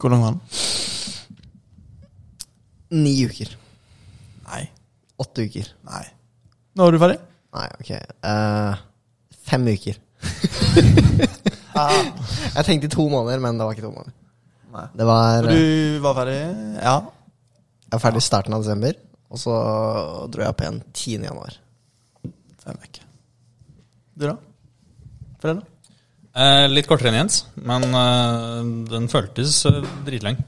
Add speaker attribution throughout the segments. Speaker 1: Hvor lang var den?
Speaker 2: Ni uker.
Speaker 1: Nei.
Speaker 2: Åtte uker.
Speaker 1: Nei. Nå er du ferdig?
Speaker 2: Nei, ok. Eh, fem uker. Ah. jeg tenkte to måneder, men det var ikke to måneder.
Speaker 1: Nei.
Speaker 2: Det var
Speaker 1: Så du var ferdig? Ja.
Speaker 2: Jeg var ferdig i starten av desember, og så dro jeg opp igjen 10. januar.
Speaker 1: Fem uker. Du, da? Fredag?
Speaker 3: Eh, litt kortere enn Jens, men eh, den føltes eh, dritlang.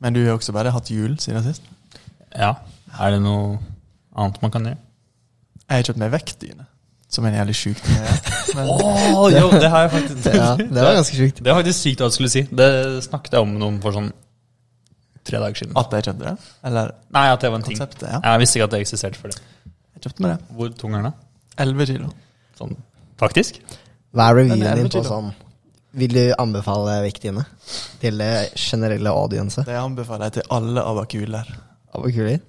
Speaker 1: Men du har også bare hatt jul siden sist?
Speaker 3: Ja. Er det noe annet man kan gjøre?
Speaker 1: Jeg har kjøpt meg vektdyne, som er en jævlig sjuk ting. å gjøre. Men
Speaker 3: Oh, jo, det har jeg faktisk
Speaker 2: Ja, det var ganske sjukt.
Speaker 3: Det er faktisk sykt at jeg skulle si. Det snakket jeg om noen for sånn tre dager siden.
Speaker 1: at jeg kjøpte det? Eller
Speaker 3: Nei, at det var en ting.
Speaker 1: konseptet? Ja.
Speaker 3: Jeg visste ikke at det eksisterte før det.
Speaker 1: Jeg kjøpte meg det.
Speaker 3: Hvor tung er den? da?
Speaker 1: 11 kilo.
Speaker 3: Sånn faktisk?
Speaker 2: Hva er
Speaker 1: Men det er
Speaker 2: revyen din
Speaker 1: legit,
Speaker 2: på
Speaker 1: da.
Speaker 2: sånn? Vil du anbefale vektdine til det generelle audienset?
Speaker 1: Det anbefaler jeg til alle abakuler.
Speaker 2: Abakuler?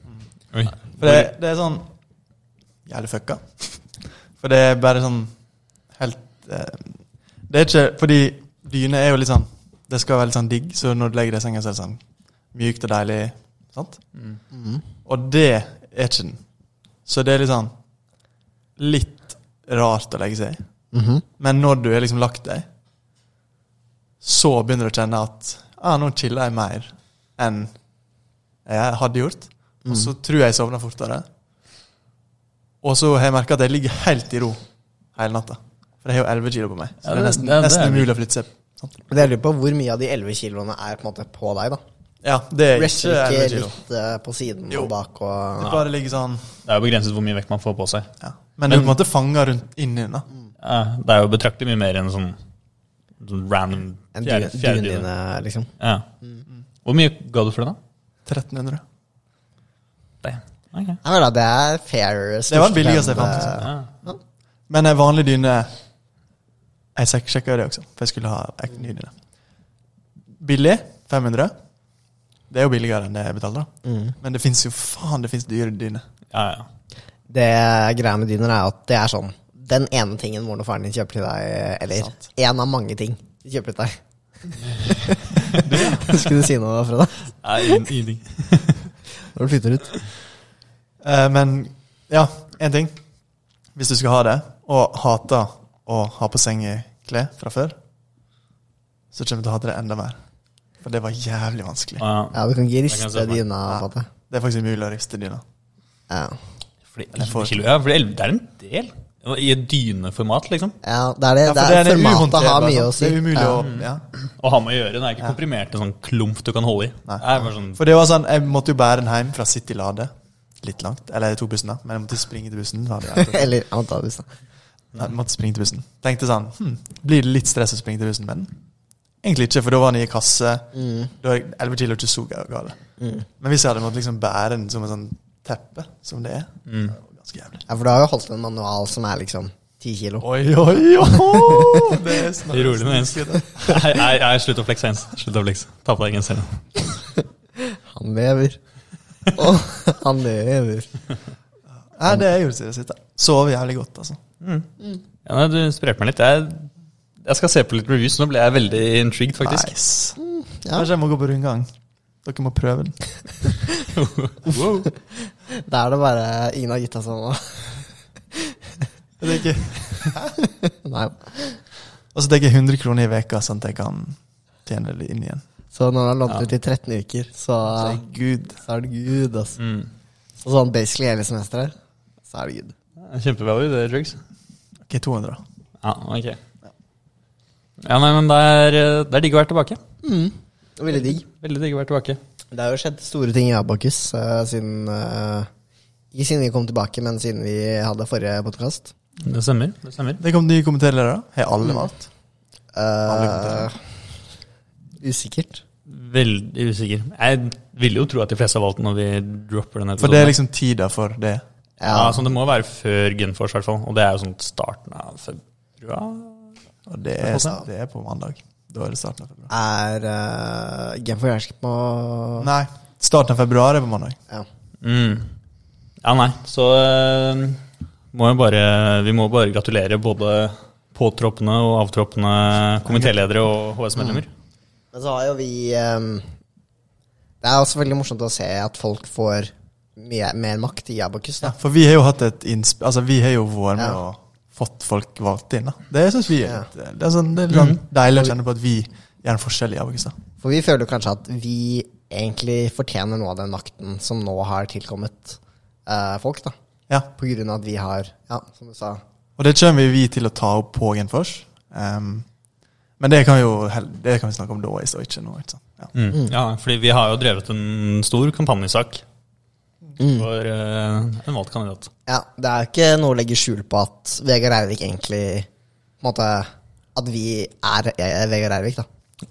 Speaker 3: Oi.
Speaker 1: For det, det er sånn Jævlig fucka. For det er bare sånn helt eh, Det er ikke Fordi dyne er jo litt sånn Det skal være litt sånn digg, så når du legger deg i senga, så er det sånn mjukt og deilig. Sant?
Speaker 3: Mm.
Speaker 1: Og det er ikke den. Så det er litt sånn Litt rart å legge seg i.
Speaker 3: Mm-hmm.
Speaker 2: Mhm.
Speaker 1: Men når du er liksom lagt deg, så begynner du å kjenne at ah, nå chiller jeg mer enn jeg hadde gjort.
Speaker 3: Mm.
Speaker 1: Og så tror jeg jeg sovner fortere. Og så har jeg merka at jeg ligger helt i ro hele natta. For jeg har jo 11 kilo på meg. Så
Speaker 3: Ja,
Speaker 1: det er
Speaker 3: det-
Speaker 1: nesten,
Speaker 3: det- det
Speaker 1: nesten
Speaker 3: er det.
Speaker 1: umulig å flytte seg. Sant?
Speaker 2: Men Jeg lurer på hvor mye av de 11 kiloene er på en måte på deg, da?
Speaker 1: Ja, det er
Speaker 2: Rester
Speaker 1: ikke 11
Speaker 2: ikke
Speaker 1: kilo.
Speaker 2: litt eh, på siden
Speaker 1: Jo.
Speaker 2: og bak
Speaker 1: Det
Speaker 2: og
Speaker 1: bare ligger sånn
Speaker 3: Det er jo begrenset hvor mye vekt man får på seg.
Speaker 1: ja. Men du på en måte fanger rundt inni unna.
Speaker 3: Eh, Det er jo betraktelig mye mer enn sånn, sånn random
Speaker 2: en
Speaker 3: fjerde-
Speaker 2: dyne,
Speaker 3: fjerde dyne.
Speaker 2: dine, liksom?
Speaker 3: Ja. Hvor mye ga du for den, da?
Speaker 1: 1300.
Speaker 3: Det. Ok.
Speaker 2: Jeg mener, da, det er fair
Speaker 1: Det var den billigste jeg fant.
Speaker 2: største-
Speaker 3: Ja.
Speaker 1: Men en vanlig dyne Jeg sjek- sjekka det også, for jeg skulle ha en ny dyne. Billig 500. Det er jo billigere enn det jeg betaler,
Speaker 2: eh,
Speaker 1: da.
Speaker 2: mm.
Speaker 1: Men det fins jo faen det finnes dyre dyner.
Speaker 3: Ja, ja.
Speaker 2: Det greia med dyner er at det er sånn Den ene tingen moren og faren din kjøper til deg, eller
Speaker 1: Sant.
Speaker 2: én av mange ting de kjøper til deg. Skulle du si noe, Freda?
Speaker 3: Nei, ingen- ingenting.
Speaker 2: Når du flytter ut.
Speaker 1: Eh, men ja, én ting. Hvis du skal ha det, og hater å ha på sengeklær fra før, så kommer du til å hate det enda mer. For det var jævlig vanskelig.
Speaker 3: Ja,
Speaker 2: Ja, du kan ikke
Speaker 3: Jeg kan
Speaker 2: riste
Speaker 3: se for meg.
Speaker 2: dyna på det.
Speaker 1: Det er faktisk umulig å riste dyna.
Speaker 2: Ja.
Speaker 3: fordi
Speaker 1: Jeg får-
Speaker 3: 11 kilo, ja, fordi 11, det er en del. I et dyneformat, liksom.
Speaker 2: ja, det er det.
Speaker 1: Ja, for
Speaker 2: det, er formatet har
Speaker 1: uhåndterbare,
Speaker 2: mye
Speaker 1: sant?
Speaker 2: å si.
Speaker 1: sånn. Det er umulig
Speaker 2: ja.
Speaker 1: å ja.
Speaker 3: Å ha med å gjøre. Den er ikke komprimert til en sånn klump du kan holde i.
Speaker 1: Nei.
Speaker 3: Det er bare sånn
Speaker 1: For det var sånn, jeg måtte jo bære den hjem fra City Lade. Litt langt. Eller jeg tok bussen, da. Men jeg måtte springe til bussen. Da. hadde Jeg
Speaker 2: Eller ja, ta det, liksom. da.
Speaker 1: Nei, jeg måtte springe til bussen. Tenkte sånn hm, Blir det litt stress å springe til bussen med den? Egentlig ikke, for da var den i kasse.
Speaker 2: Mm.
Speaker 1: Da er 11 kilo ikke så gale. Men hvis jeg hadde måttet liksom bære den som en sånn teppe, som det er det var Ganske jævlig.
Speaker 2: Ja, for du har jo holdt en manual som er liksom ti kilo.
Speaker 1: Oi, oi, oi! Det er snart
Speaker 3: Rolig nå, Jens. Nei, nei, nei, slutt å flekse, Jens. Slutt å flekse. Ta på deg genseren.
Speaker 2: Han lever. Å, han lever.
Speaker 1: Nei, det jeg gjorde siden sist. da. Sov jævlig godt, altså.
Speaker 3: Ja, nei, du inspirerte meg litt. Jeg, jeg skal se på litt reviews. Nå ble jeg veldig intrigued, faktisk.
Speaker 1: Nice.
Speaker 2: Mm, Ja.
Speaker 1: Kanskje jeg må gå på rundgang. Dere må prøve den.
Speaker 3: wow.
Speaker 2: Da er det bare ingen av gutta som
Speaker 1: Jeg tenker, altså,
Speaker 2: Nei.
Speaker 1: Og så tenker jeg 100 kroner i veka sånn at jeg kan tjene det inn igjen.
Speaker 2: Så når han har lånt ut i 13 uker, så,
Speaker 1: Så Gud.
Speaker 2: så er det good, altså.
Speaker 3: Mm.
Speaker 2: Så sånn basically hele semesteret, så er det good.
Speaker 3: Kjempevalue, det, Drugs.
Speaker 1: Ok, 200. da.
Speaker 3: Ja, ok. Ja, nei, men det er, det er digg å være tilbake.
Speaker 2: Veldig digg.
Speaker 3: Veldig digg å være tilbake.
Speaker 2: Det har jo skjedd store ting i Abakus eh, siden eh, Ikke siden vi kom tilbake, men siden vi hadde forrige podkast.
Speaker 3: Det stemmer. Det stemmer.
Speaker 2: Mm.
Speaker 1: Det kom nye kommenterere. Har alle valgt?
Speaker 2: Eh, Usikkert.
Speaker 3: Veldig usikker. Jeg ville jo tro at de fleste har valgt den når vi dropper den
Speaker 1: For det er liksom tida for det.
Speaker 3: ja,
Speaker 1: sånn.
Speaker 3: så Det må være før Gunforce, i hvert fall. Og det er jo sånn starten av februar.
Speaker 1: Og det er,
Speaker 2: Ja.
Speaker 1: det er på mandag. Da er det starten av februar.
Speaker 2: Er uh, Genfor Jersk på
Speaker 1: Nei, starten av februar er på mandag.
Speaker 2: ja.
Speaker 3: Mm. Ja, nei. Så eh, må jo bare, vi må bare gratulere både påtroppende og avtroppende komitéledere og HS-medlemmer.
Speaker 2: Men så har jo vi ehm, Det er også veldig morsomt å se at folk får mye, mer makt i Abakus.
Speaker 1: Ja,
Speaker 2: Da.
Speaker 1: for vi har jo hatt et innsp... Altså, vi har jo vært med
Speaker 2: Ja.
Speaker 1: og fått folk valgt inn. da. Det syns vi er
Speaker 2: Ja. Mm.
Speaker 1: litt Det er, sånn, det er litt sånn deilig å kjenne på at vi gjør en forskjell i Abakus. da.
Speaker 2: For vi føler jo kanskje at vi egentlig fortjener noe av den makten som nå har tilkommet eh, folk. da
Speaker 1: Ja.
Speaker 2: På grunn av at vi har, ja, som du sa
Speaker 1: Og det kommer vi til å ta opp på Genfors. Ehm, men det kan, vi jo, hel- det kan vi snakke om da, i Stoiche nå. ikke sant? Ja.
Speaker 3: Mm. Ja, fordi vi har jo drevet en stor kampanjesak
Speaker 1: Mm.
Speaker 3: for eh, en valgt kandidat.
Speaker 2: Ja, det er jo ikke noe å legge skjul på at Vegard Eivik egentlig på en måte, At vi er eh, Vegard Eivik, da.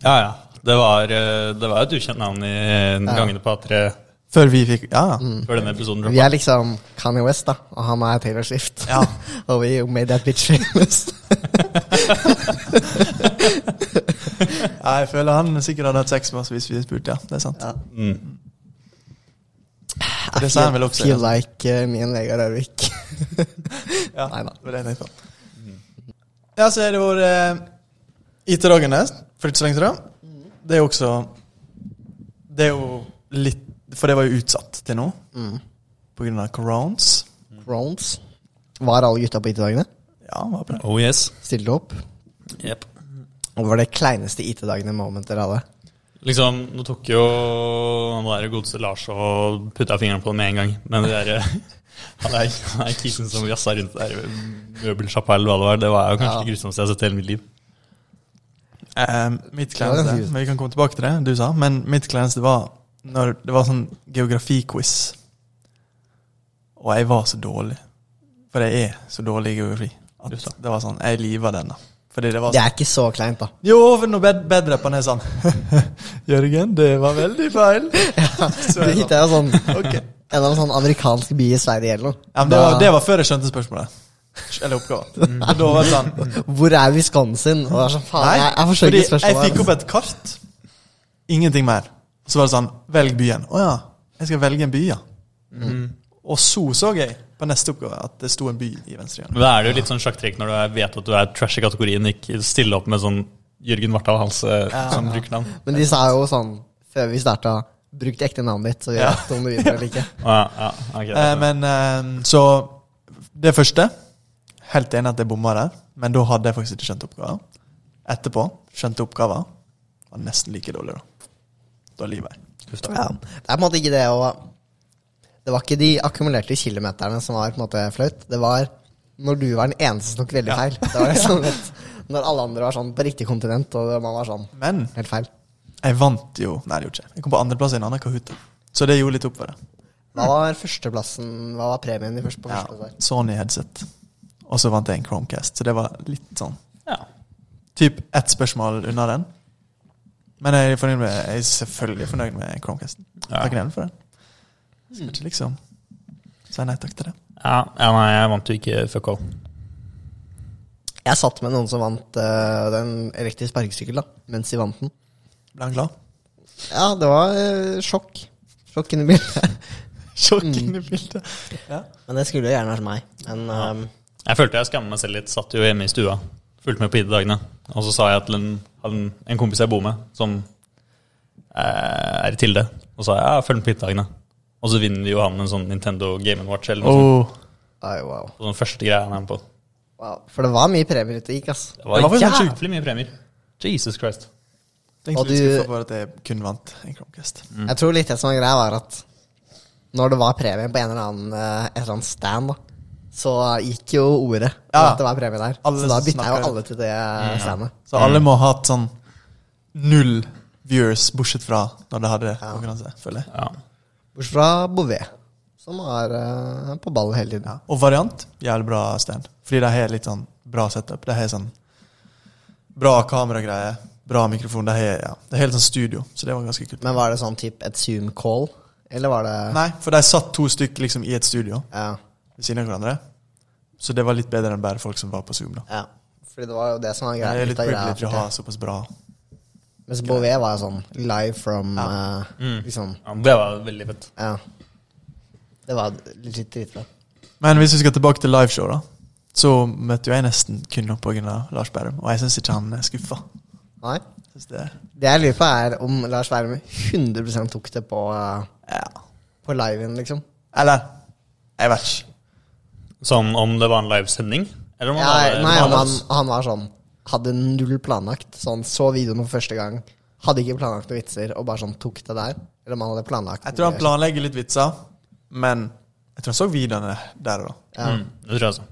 Speaker 3: Ja, ja. Det var, eh, det var et ukjent navn i eh, gangene på A3
Speaker 1: Før vi fikk Ja, ja.
Speaker 2: Mm.
Speaker 3: før denne episoden
Speaker 2: Vi
Speaker 3: droppa.
Speaker 2: er liksom Kanye West, da, og han er Taylor Swift.
Speaker 1: Ja.
Speaker 2: og vi made that bitch famous.
Speaker 1: ja jeg føler han sikkert hadde hatt sex med oss hvis vi spurte. ja. Det er sant.
Speaker 2: Ja.
Speaker 3: Mm.
Speaker 1: Og Det sa han vel også.
Speaker 2: Feel
Speaker 1: Ja.
Speaker 2: like eh, me and Vegard Eivik.
Speaker 1: Ja,
Speaker 2: Nei da.
Speaker 1: det var det jeg tenkte på. Ja, så er det vår eh, IT-dagene for ikke så lenge siden. Det er jo også Det er jo litt For det var jo utsatt til nå
Speaker 2: Mm.
Speaker 1: på grunn av corones.
Speaker 2: Rounds. Var alle gutta på IT-dagene?
Speaker 1: Ja, hva bra.
Speaker 3: Oh yes.
Speaker 2: Stilte opp?
Speaker 3: Yep.
Speaker 2: Og var det kleineste IT-dagene moment dere hadde?
Speaker 3: Liksom, Nå tok jo han der godeste Lars og putta fingeren på det med en gang. Men det der, eh, han der, han der kisen som jazza rundt der møbelsjappa eller hva det var, det var jo kanskje det grusomste jeg har sett i hele mitt liv.
Speaker 1: Eh, mitt
Speaker 2: Ja, det er
Speaker 1: kleineste
Speaker 2: fint.
Speaker 1: men Vi kan komme tilbake til det du sa, men mitt kleineste var når det var sånn geografiquiz. Og jeg var så dårlig. For jeg er så dårlig i geografi. At
Speaker 3: Just da.
Speaker 1: det var sånn, Jeg liva den, da. Fordi det var sånn,
Speaker 2: Det er ikke så kleint, da.
Speaker 1: Jo, for nå bed bedrapperen er sånn Jørgen, det var veldig feil. Så
Speaker 2: Du
Speaker 1: jeg
Speaker 2: hitta
Speaker 1: sånn,
Speaker 2: jo sånn
Speaker 1: ok.
Speaker 2: en eller annen sånn amerikansk by i Sverige eller noe.
Speaker 1: Ja, men det, var,
Speaker 2: Da-
Speaker 1: det var før jeg skjønte spørsmålet. Eller oppgaven. Og da var det sånn
Speaker 2: Hvor er Wisconsin? Og det er sånn, faen,
Speaker 1: Nei,
Speaker 2: jeg, jeg forstår
Speaker 1: fordi
Speaker 2: ikke
Speaker 1: jeg
Speaker 2: spørsmålet. altså.
Speaker 1: fikk opp et kart. Ingenting mer. Så var det sånn Velg byen. Å ja, jeg skal velge en by, ja. Og så så jeg på neste oppgave at det sto en by i venstre hjørne.
Speaker 3: Men Da er det jo litt sånn sjakktrekk når du er- vet at du er trash i kategorien, ikke stille opp med sånn Jørgen Vartdal Halse som brukernavn.
Speaker 2: Men de sa jo sånn før vi starta Bruk det ekte navnet ditt, så vi
Speaker 1: Ja.
Speaker 2: vet om du vinner eller ikke.
Speaker 3: Ja, ja, ok, det
Speaker 1: Eh,
Speaker 3: er sånn.
Speaker 1: men eh, så Det første Helt enig at jeg bomma der, men da hadde jeg faktisk ikke skjønt oppgaven. Etterpå skjønte jeg oppgaven. Var nesten like dårlig, da. Da lyver jeg.
Speaker 3: Huff da.
Speaker 2: Ja. Det er på en måte ikke det å Det var ikke de akkumulerte kilometerne som var på en måte flaut. Det var når du var den eneste som tok veldig feil. Det var liksom litt, Når alle andre var sånn på riktig kontinent, og man var sånn
Speaker 1: Men
Speaker 2: helt feil.
Speaker 1: jeg vant jo Nei, det gjorde jeg ikke. Jeg kom på andreplass i en annen Kahoot. da. Så det gjorde litt opp for det.
Speaker 2: Hva var førsteplassen Hva var premien i første på
Speaker 1: Ja,
Speaker 2: første der?
Speaker 1: Sony headset. Og så vant jeg en Chromecast, så det var litt sånn
Speaker 3: Ja.
Speaker 1: Typ ett spørsmål unna den. Men jeg er, fornøyd med, jeg er selvfølgelig fornøyd med Chromecasten.
Speaker 3: Ja.
Speaker 1: Takknemlig for det. Skal ikke liksom si nei takk til det.
Speaker 3: Ja, ja, nei, jeg vant jo ikke fuck all.
Speaker 2: Jeg satt med noen som vant eh, den elektriske sparkesykkel, da, mens de vant den.
Speaker 1: Ble han glad?
Speaker 2: Ja, det var eh, sjokk. Sjokk inni bilen.
Speaker 1: Sjokk inn i bildet. Mm. Ja.
Speaker 2: Men det skulle jo gjerne vært meg. Men ehm,
Speaker 3: Jeg følte jeg skammet meg selv litt. Satt jo hjemme i stua. Fulgte med på ID-dagene. Og så sa jeg til en, hadde en, en kompis jeg bor med, som eh, er i Tilde, og sa ja, følg med på ID-dagene. Og så vinner jo han en sånn Nintendo Game Watch eller noe sånt.
Speaker 2: Ai, wow.
Speaker 3: på Den første greia han er med på.
Speaker 2: wow. For det var mye premier ute og gikk, ass.
Speaker 3: Det var,
Speaker 1: Det var faktisk helt
Speaker 3: jævlig mye premier. Jesus Christ.
Speaker 1: Tenkte
Speaker 2: Og
Speaker 1: litt
Speaker 2: du-
Speaker 1: skuffa over at jeg kun vant en Chromecast.
Speaker 2: Jeg tror litt det som var greia, var at når det var premie på en eller annen, eh, et eller annet stand, da, så gikk jo ordet om
Speaker 1: Ja.
Speaker 2: at det var premie der.
Speaker 1: Alle
Speaker 2: så da bytta
Speaker 1: snakker Mm.
Speaker 2: jo
Speaker 1: det.
Speaker 2: alle til det standet.
Speaker 1: Så alle må ha hatt sånn null viewers, bortsett fra når de hadde konkurranse, føler jeg.
Speaker 3: Ja.
Speaker 2: Bortsett fra Bouvet, som var eh, på ball hele tiden.
Speaker 1: Og variant, jævlig bra stand. Fordi de har litt sånn bra setup. De har sånn bra kameragreier, bra mikrofon. Det er, ja. det er helt sånn studio, så det var ganske kult.
Speaker 2: Men var det sånn typ et Zoom-call? Eller var det
Speaker 1: Nei, for de satt to stykker liksom i et studio
Speaker 2: Ja,
Speaker 1: ved siden av hverandre. Så det var litt bedre enn bare folk som var på Zoom, da.
Speaker 2: ja. Fordi det var jo det som var
Speaker 1: Det
Speaker 2: greia.
Speaker 1: er litt
Speaker 2: av greia
Speaker 1: privilegert å
Speaker 2: for
Speaker 1: ha
Speaker 2: det.
Speaker 1: såpass bra.
Speaker 2: Mens Bouvet var jo sånn live from eh,
Speaker 3: Mm.
Speaker 2: Liksom,
Speaker 3: Ja, det var veldig fett.
Speaker 2: ja. Det var litt dritbra.
Speaker 1: Men hvis vi skal tilbake til liveshow, da. Så møtte jo jeg nesten kun opp pga. Lars Berrum, og jeg syns ikke han er skuffa.
Speaker 2: Nei?
Speaker 1: Synes det er-
Speaker 2: Det jeg lurer på, er om Lars Werme 100 tok det på, eh,
Speaker 1: Ja.
Speaker 2: på liven, liksom.
Speaker 1: Eller jeg vet ikke.
Speaker 3: Sånn om det var en livesending? Eller om
Speaker 2: Ja,
Speaker 3: han var-
Speaker 2: nei,
Speaker 3: eller
Speaker 2: om
Speaker 3: var
Speaker 2: han, han var sånn Hadde null planlagt. Så han så videoen for første gang, hadde ikke planlagt noen vitser, og bare sånn tok det der. Eller om han hadde planlagt
Speaker 1: Jeg tror han planlegger litt vitser, men jeg tror han så videoene der og da.
Speaker 2: Ja.
Speaker 3: Mm, det tror jeg også.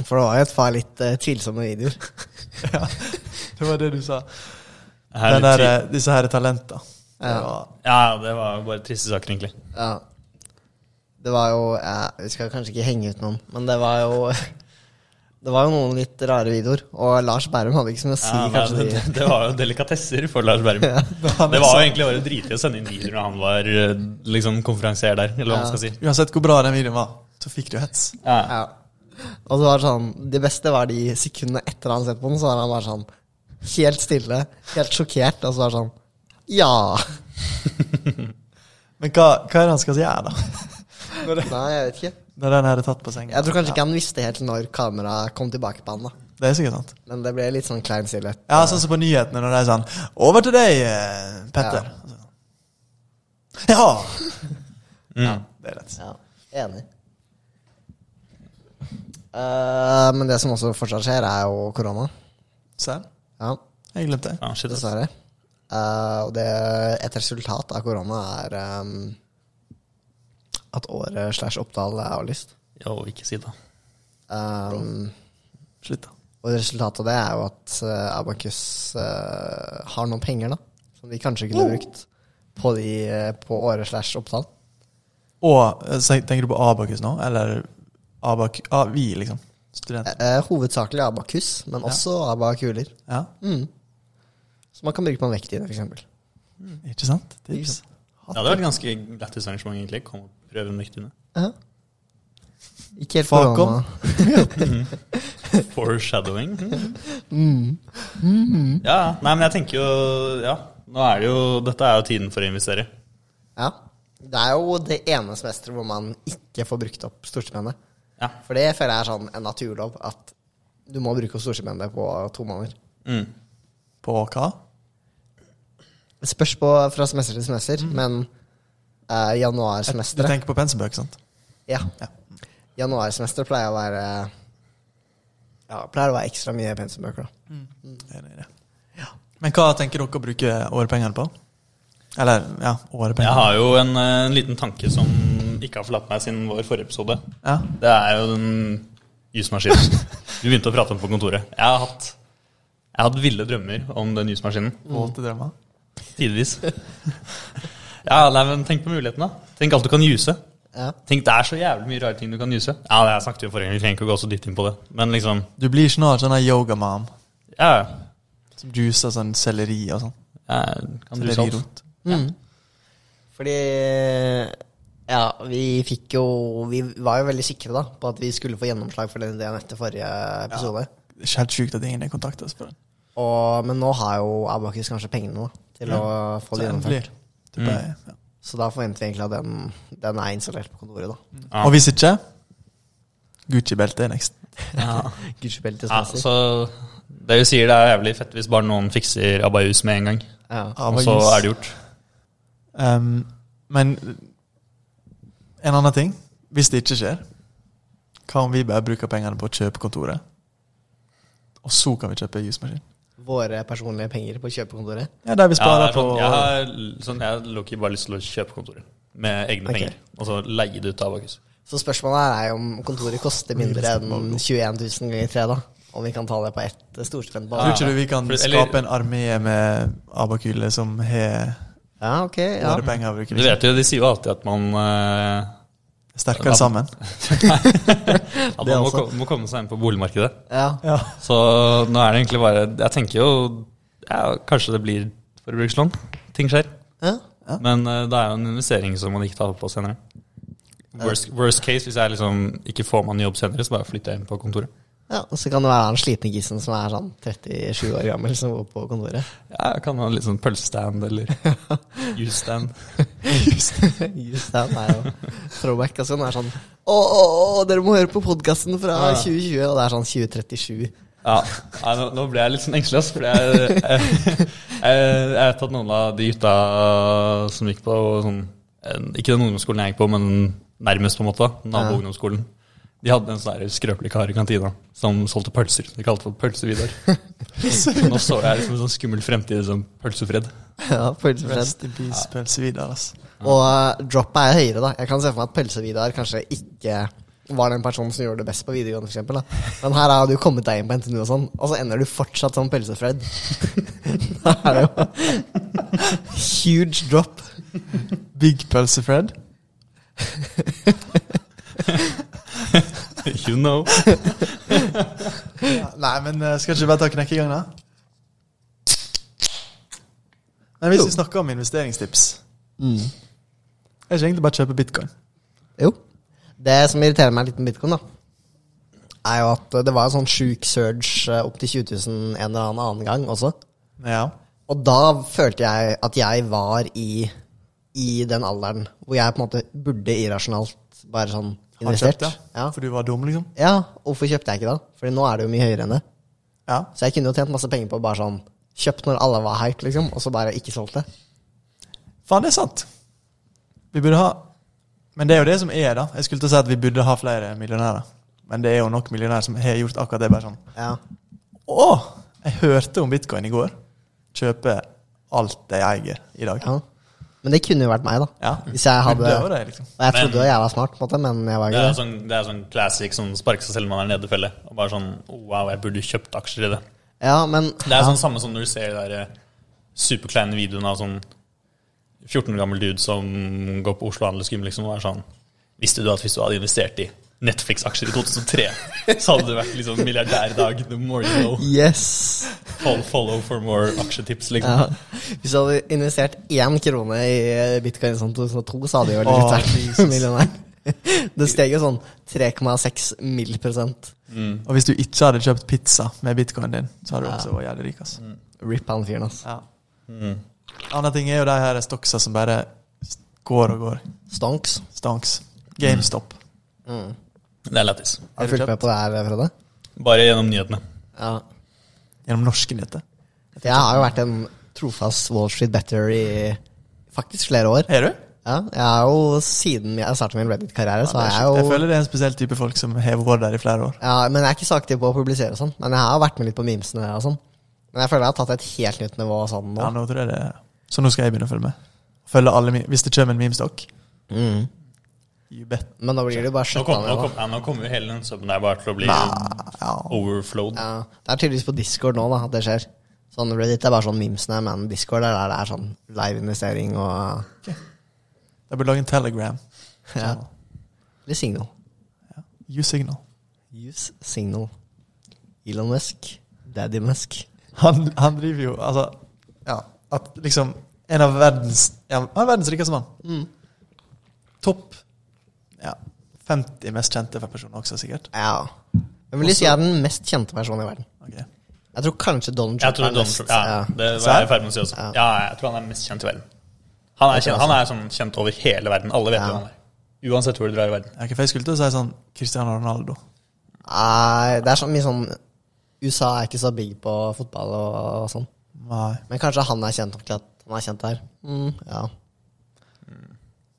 Speaker 2: For det var jo et par litt eh, tvilsomme videoer.
Speaker 1: Ja, det var det du sa.
Speaker 3: Jeg er
Speaker 1: Den der,
Speaker 3: litt
Speaker 1: eh, disse her talenta. Det
Speaker 2: Ja.
Speaker 1: var
Speaker 3: tvi- Ja, det var bare triste saker, egentlig.
Speaker 2: Ja. Det var jo ja, Vi skal kanskje ikke henge ut noen, men det var jo Det var jo noen litt rare videoer, og Lars Bærum hadde ikke så mye å si,
Speaker 3: Ja, nei,
Speaker 2: kanskje.
Speaker 3: det,
Speaker 2: de-
Speaker 3: det- det var jo delikatesser for Lars Berrum.
Speaker 1: han
Speaker 3: Det var jo egentlig bare dritlig å sende inn videoer når han var eh, liksom konferansier der, eller hva man
Speaker 2: Ja.
Speaker 3: skal si.
Speaker 1: Uansett hvor bra den videoen var, så fikk du hets.
Speaker 3: Ja.
Speaker 2: Ja. Og så var det sånn Det beste var de sekundene etter han hadde sett på den, så var han bare sånn helt stille, helt sjokkert, og så var det sånn Ja!
Speaker 1: Men hva, hva er det han skal gjøre, da?
Speaker 2: Nei, jeg vet ikke.
Speaker 1: Når den her er tatt på senga?
Speaker 2: Jeg tror kanskje ikke han visste helt når kameraet kom tilbake på han, da.
Speaker 1: Ja, det er sikkert sant.
Speaker 2: Men det ble litt sånn klein stillhet.
Speaker 1: Ja, sånn som på nyhetene når det er sånn 'Over til deg, eh, Petter'. Ja!
Speaker 3: Mm.
Speaker 1: Det er rett.
Speaker 2: Ja, enig. Eh, men det som også fortsatt skjer, er jo korona.
Speaker 1: Serr?
Speaker 2: Ja,
Speaker 1: Jeg glemte det.
Speaker 3: Ja, shit, ass.
Speaker 2: dessverre. Eh, og det, et resultat av korona er ehm, at året slash Oppdal er avlyst.
Speaker 3: Jo, ikke si det.
Speaker 2: Ehm,
Speaker 1: Slutt, da.
Speaker 2: og resultatet av det er jo at eh, Abacus eh, har noen penger, da. Som de kanskje kunne brukt på, de, eh, på året slash Oppdal.
Speaker 1: Og eh, så tenker du på Abakus nå? Eller Abak... Ah, vi, liksom. Studenter.
Speaker 2: Eh, hovedsakelig Abakus, men også Abakuler.
Speaker 1: Ja,
Speaker 2: Mm. Som man kan bruke på en vekt i det, f.eks.
Speaker 1: ikke sant? Tips.
Speaker 3: Ja, det var et ganske lættis arrangement, egentlig. Kom og prøv en vektdyne.
Speaker 2: Ikke helt
Speaker 1: Fuck
Speaker 2: korona.
Speaker 3: Foreshadowing. Mhm. Ja, nei, men jeg tenker jo Ja, nå er det jo Dette er jo tiden for å investere.
Speaker 2: Ja. Det er jo det ene semesteret hvor man ikke får brukt opp storstipendet.
Speaker 3: Ja.
Speaker 2: For det føler jeg er sånn en naturlov at du må bruke opp storstipendet på to måneder.
Speaker 3: Mm.
Speaker 1: På hva?
Speaker 2: Det spørs på fra semester til semester, men eh,
Speaker 1: Du
Speaker 2: januarsemesteret
Speaker 1: tenker på penselbøker, sant?
Speaker 2: ja.
Speaker 1: Ja.
Speaker 2: Januarsemesteret pleier å være Ja, pleier å være ekstra mye pensumbøker, da.
Speaker 1: Enig i det. Men hva tenker dere å bruke årepengene på? Eller, ja,
Speaker 3: Jeg
Speaker 1: årepengene.
Speaker 3: har jo en, eh, en liten tanke som ikke har forlatt meg siden vår forrige episode.
Speaker 1: Ja.
Speaker 3: Det er jo den jusmaskinen du begynte å prate om på kontoret. Jeg har hatt, jeg har hatt ville drømmer om den jusmaskinen.
Speaker 1: Våte drømmer.
Speaker 3: Tidvis. Ja, nei, men tenk på mulighetene. da. Tenk alt du kan juse.
Speaker 2: Ja.
Speaker 3: Tenk, det er så jævlig mye rare ting du kan juse. Ja, det snakket vi jo forrige gang, vi trenger ikke å gå så dypt inn på det. Men liksom,
Speaker 1: Du blir snart sånn her yogamam
Speaker 3: ja,
Speaker 1: som juicer sånn selleri og sånn.
Speaker 3: jeg kan juse
Speaker 1: Sellerirot.
Speaker 3: alt.
Speaker 2: Mm. Fordi ja, vi fikk jo Vi var jo veldig sikre da på at vi skulle få gjennomslag for den ideen etter forrige episode.
Speaker 1: Det er helt sjukt at ingen har kontakta oss på den.
Speaker 2: Og, men nå har jo Abakus kanskje pengene da, til å få
Speaker 1: Så
Speaker 2: det
Speaker 1: endelig.
Speaker 2: gjennomført.
Speaker 1: Typ, jeg- ja.
Speaker 2: Så da forventer vi egentlig at den, den er installert på kontoret. da
Speaker 3: Ja.
Speaker 1: Og hvis ikke Gucci-belte er next.
Speaker 2: Gudsbeltet
Speaker 3: Ja,
Speaker 2: spesielt.
Speaker 3: så det du sier, det er jævlig fett hvis bare noen fikser Abayus med en gang.
Speaker 2: Ja.
Speaker 1: Ja,
Speaker 3: Og
Speaker 1: men
Speaker 3: så
Speaker 1: jus.
Speaker 3: er det gjort.
Speaker 1: Um, men en annen ting Hvis det ikke skjer, hva om vi bare bruker pengene på å kjøpe kontoret? Og så kan vi kjøpe jusmaskin?
Speaker 2: Våre personlige penger på kjøpekontoret.
Speaker 1: Ja, der vi
Speaker 3: Ja, det
Speaker 1: sparer
Speaker 3: er sånn,
Speaker 1: på
Speaker 3: jeg har sånn, jeg har low-key bare lyst til å kjøpe kontoret med egne
Speaker 2: Ok.
Speaker 3: penger. Og så leie det ut av Abakus.
Speaker 2: Så spørsmålet her er jo om kontoret koster mindre enn 21 000 ganger 3. da Om vi kan ta det på ett eh, storstrøm. på-
Speaker 1: Tror ikke du vi kan
Speaker 3: For- eller-
Speaker 1: skape en armé med abakyle som har
Speaker 2: Ja, ok. Ja.
Speaker 1: våre penger å bruke? liksom?
Speaker 3: Du vet jo, de sier jo alltid at man, eh,
Speaker 1: Sterkere sammen.
Speaker 3: at
Speaker 2: Det
Speaker 3: man
Speaker 2: også.
Speaker 3: må, ko- må komme seg inn på boligmarkedet.
Speaker 2: ja.
Speaker 1: Ja.
Speaker 3: Så nå er det egentlig bare Jeg tenker jo ja, kanskje det blir forbrukslån. sånn, Ting skjer.
Speaker 2: Ja.
Speaker 3: Men eh, det er jo en investering som man ikke tar på senere. Worst, worst case, hvis jeg liksom ikke får meg en jobb senere, så bare flytter jeg inn på kontoret.
Speaker 2: ja, og så kan det være han slitne gissen som er sånn 37 år gammel, som går på kontoret.
Speaker 3: Ja, jeg kan ha en litt sånn pølsestand eller juice stand.
Speaker 2: Just det, det er jo throwback. Altså, den er sånn Å, å, å, dere må høre på podkasten fra
Speaker 3: Ja.
Speaker 2: 2020, og det er sånn 2037.
Speaker 3: Ja, nei, nå, nå ble jeg litt sånn engstelig, ass, fordi jeg, jeg, jeg, jeg vet at noen av de gutta som gikk på sånn, en- Ikke den ungdomsskolen jeg gikk på, men nærmest, på en måte. Naboungdomsskolen. De hadde en sånn der skrøpelig kar i kantina som solgte pølser. De kalte for Pølse-Vidar. Nå så jeg liksom en sånn skummel fremtid som Pølsefred.
Speaker 2: Ja, pølsefred.
Speaker 1: Rest in peace, pølse videre, ass.
Speaker 2: Og eh, droppet er høyere, da. Jeg kan se for meg at Pølse-Vidar kanskje ikke var den personen som gjorde det best på videregående, for eksempel, da. Men her har du kommet deg inn på NTNU og sånn, og så ender du fortsatt som Pølse-Fred. da er det jo huge drop.
Speaker 1: Big pølse-Fred.
Speaker 3: You know.
Speaker 1: Ja, nei, men eh, skal ikke vi bare ta knekk i gang, da? Men hvis vi snakker om investeringstips, er det ikke egentlig bare å kjøpe bitcoin?
Speaker 2: Jo. Det som irriterer meg litt med bitcoin, da, er jo at det var en sånn sjuk surge eh, opp til 20 000 en eller annen annen gang også.
Speaker 1: Ja.
Speaker 2: Og da følte jeg at jeg var i, i den alderen hvor jeg på en måte burde irrasjonalt bare sånn
Speaker 1: Har du
Speaker 2: investert.
Speaker 1: kjøpt det?
Speaker 2: Ja.
Speaker 1: For du var dum, liksom?
Speaker 2: ja, hvorfor kjøpte jeg ikke da? Fordi nå er det jo mye høyere enn det.
Speaker 1: Ja.
Speaker 2: Så jeg kunne jo tjent masse penger på bare sånn Kjøpt når alle var hype, liksom, og så bare ikke solgt det.
Speaker 1: Faen, det er sant. Vi burde ha Men det er jo det som er, da. Jeg skulle til å si at vi burde ha flere millionærer. Men det er jo nok millionærer som har gjort akkurat det. bare sånn
Speaker 2: Ja.
Speaker 1: Å! Jeg hørte om bitcoin i går. Kjøpe alt jeg eier i dag.
Speaker 2: ja. Men det kunne jo vært meg, da.
Speaker 1: Ja.
Speaker 2: Hvis jeg hadde
Speaker 1: Burde jo det, liksom.
Speaker 2: Og jeg
Speaker 3: Men-
Speaker 2: trodde jo jeg var smart, på en måte, men jeg var
Speaker 3: Det
Speaker 2: ikke
Speaker 3: er
Speaker 2: det.
Speaker 3: sånn, det er sånn classic sånn sparke seg selv når man er nede i felle. Og bare sånn Wow, jeg burde kjøpt aksjer i det.
Speaker 2: Ja, men
Speaker 3: Det er sånn samme som når du ser de der eh, superkleine videoene av sånn 14 år gammel dude som går på Oslo Handelsgym liksom, og er sånn Visste du at hvis du hadde investert i Netflix-aksjer i 2003, så hadde du vært liksom milliardær i dag? The more you know.
Speaker 2: Yes!
Speaker 3: Follow, follow for more aksjetips, liksom.
Speaker 2: Ja. Hvis du hadde investert én krone i bitcoin i sånn 2002, så hadde du jo
Speaker 1: Åh,
Speaker 2: litt vært
Speaker 1: Jesus.
Speaker 2: millionær. Det steg jo sånn 3,6 mill. prosent.
Speaker 1: Og hvis du ikke hadde kjøpt pizza med bitcoinen din, så hadde du også vært jævlig rik. ass.
Speaker 2: Rip han fyren, ass.
Speaker 1: Ja. Mm. Andre ting er jo de her stoksa som bare går og går.
Speaker 2: Stonks.
Speaker 1: Stanks. GameStop.
Speaker 3: Det er lættis.
Speaker 1: Har du
Speaker 2: Har du fulgt
Speaker 1: kjøpt?
Speaker 2: med på det her, Frode?
Speaker 3: Bare gjennom nyhetene.
Speaker 2: Ja.
Speaker 1: Gjennom norske nyheter.
Speaker 2: Jeg har jo vært en trofast Wall Street Better i faktisk flere år.
Speaker 1: Er du?
Speaker 2: Ja, jeg har jo Siden jeg startet min Reddit-karriere, så
Speaker 1: Ja,
Speaker 2: har
Speaker 1: det er
Speaker 2: jeg
Speaker 1: sjukt.
Speaker 2: jo
Speaker 1: Altså, jeg føler det er en spesiell type folk som har vært der i flere år.
Speaker 2: Ja, men jeg er ikke så aktiv på å publisere og sånn. Men jeg har vært med litt på memesene og sånn. Men jeg føler jeg har tatt et helt nytt nivå sånn nå.
Speaker 1: Ja, nå tror jeg det Så nå skal jeg begynne å følge med. Følge alle mi- Hvis det kommer en memestokk
Speaker 2: Mm.
Speaker 1: You bet.
Speaker 2: Men da blir det jo bare
Speaker 3: Nå
Speaker 2: skjøtta
Speaker 3: kommer
Speaker 2: ned. nå.
Speaker 3: kom, ja, nå kommer jo hele den suben der bare til å bli
Speaker 1: Ja.
Speaker 3: overflowed.
Speaker 2: Ja, det er tydeligvis på Discord nå da, at det skjer. Sånn Reddit er bare sånn memesene, men Discord er der det er sånn live investering og
Speaker 1: Jeg burde lage en telegram.
Speaker 2: ja.
Speaker 1: Channel.
Speaker 2: Eller Signal.
Speaker 1: You signal.
Speaker 2: Use Signal. Elon Musk. Daddy Musk.
Speaker 1: Han, han driver jo Altså, ja At liksom En av verdens ja, Han er verdens rikeste mann. Topp Ja 50 mest kjente personer også, sikkert.
Speaker 2: Ja. Jeg vil si jeg er den mest kjente personen i verden.
Speaker 1: Ok.
Speaker 2: Jeg tror kanskje Donald
Speaker 3: Jeg
Speaker 2: Trump
Speaker 3: tror
Speaker 2: er
Speaker 3: Donald
Speaker 2: mest.
Speaker 3: Trump ja,
Speaker 2: ja.
Speaker 3: det
Speaker 1: Så
Speaker 3: var
Speaker 1: er-
Speaker 3: jeg i ferd med å si også.
Speaker 2: Ja.
Speaker 3: Ja, jeg tror han er mest kjent i verden. Han er, kjent, han er sånn kjent over hele verden. Alle vet
Speaker 2: Ja.
Speaker 3: hvem han er. Uansett hvor du drar i verden.
Speaker 1: Ja, ok, for jeg skulle til å si sånn Cristiano Ronaldo.
Speaker 2: Nei, det er sånn mye sånn USA er ikke så big på fotball og, og sånn.
Speaker 1: Nei.
Speaker 2: Men kanskje han er kjent nok til at han er kjent der. Mm, ja.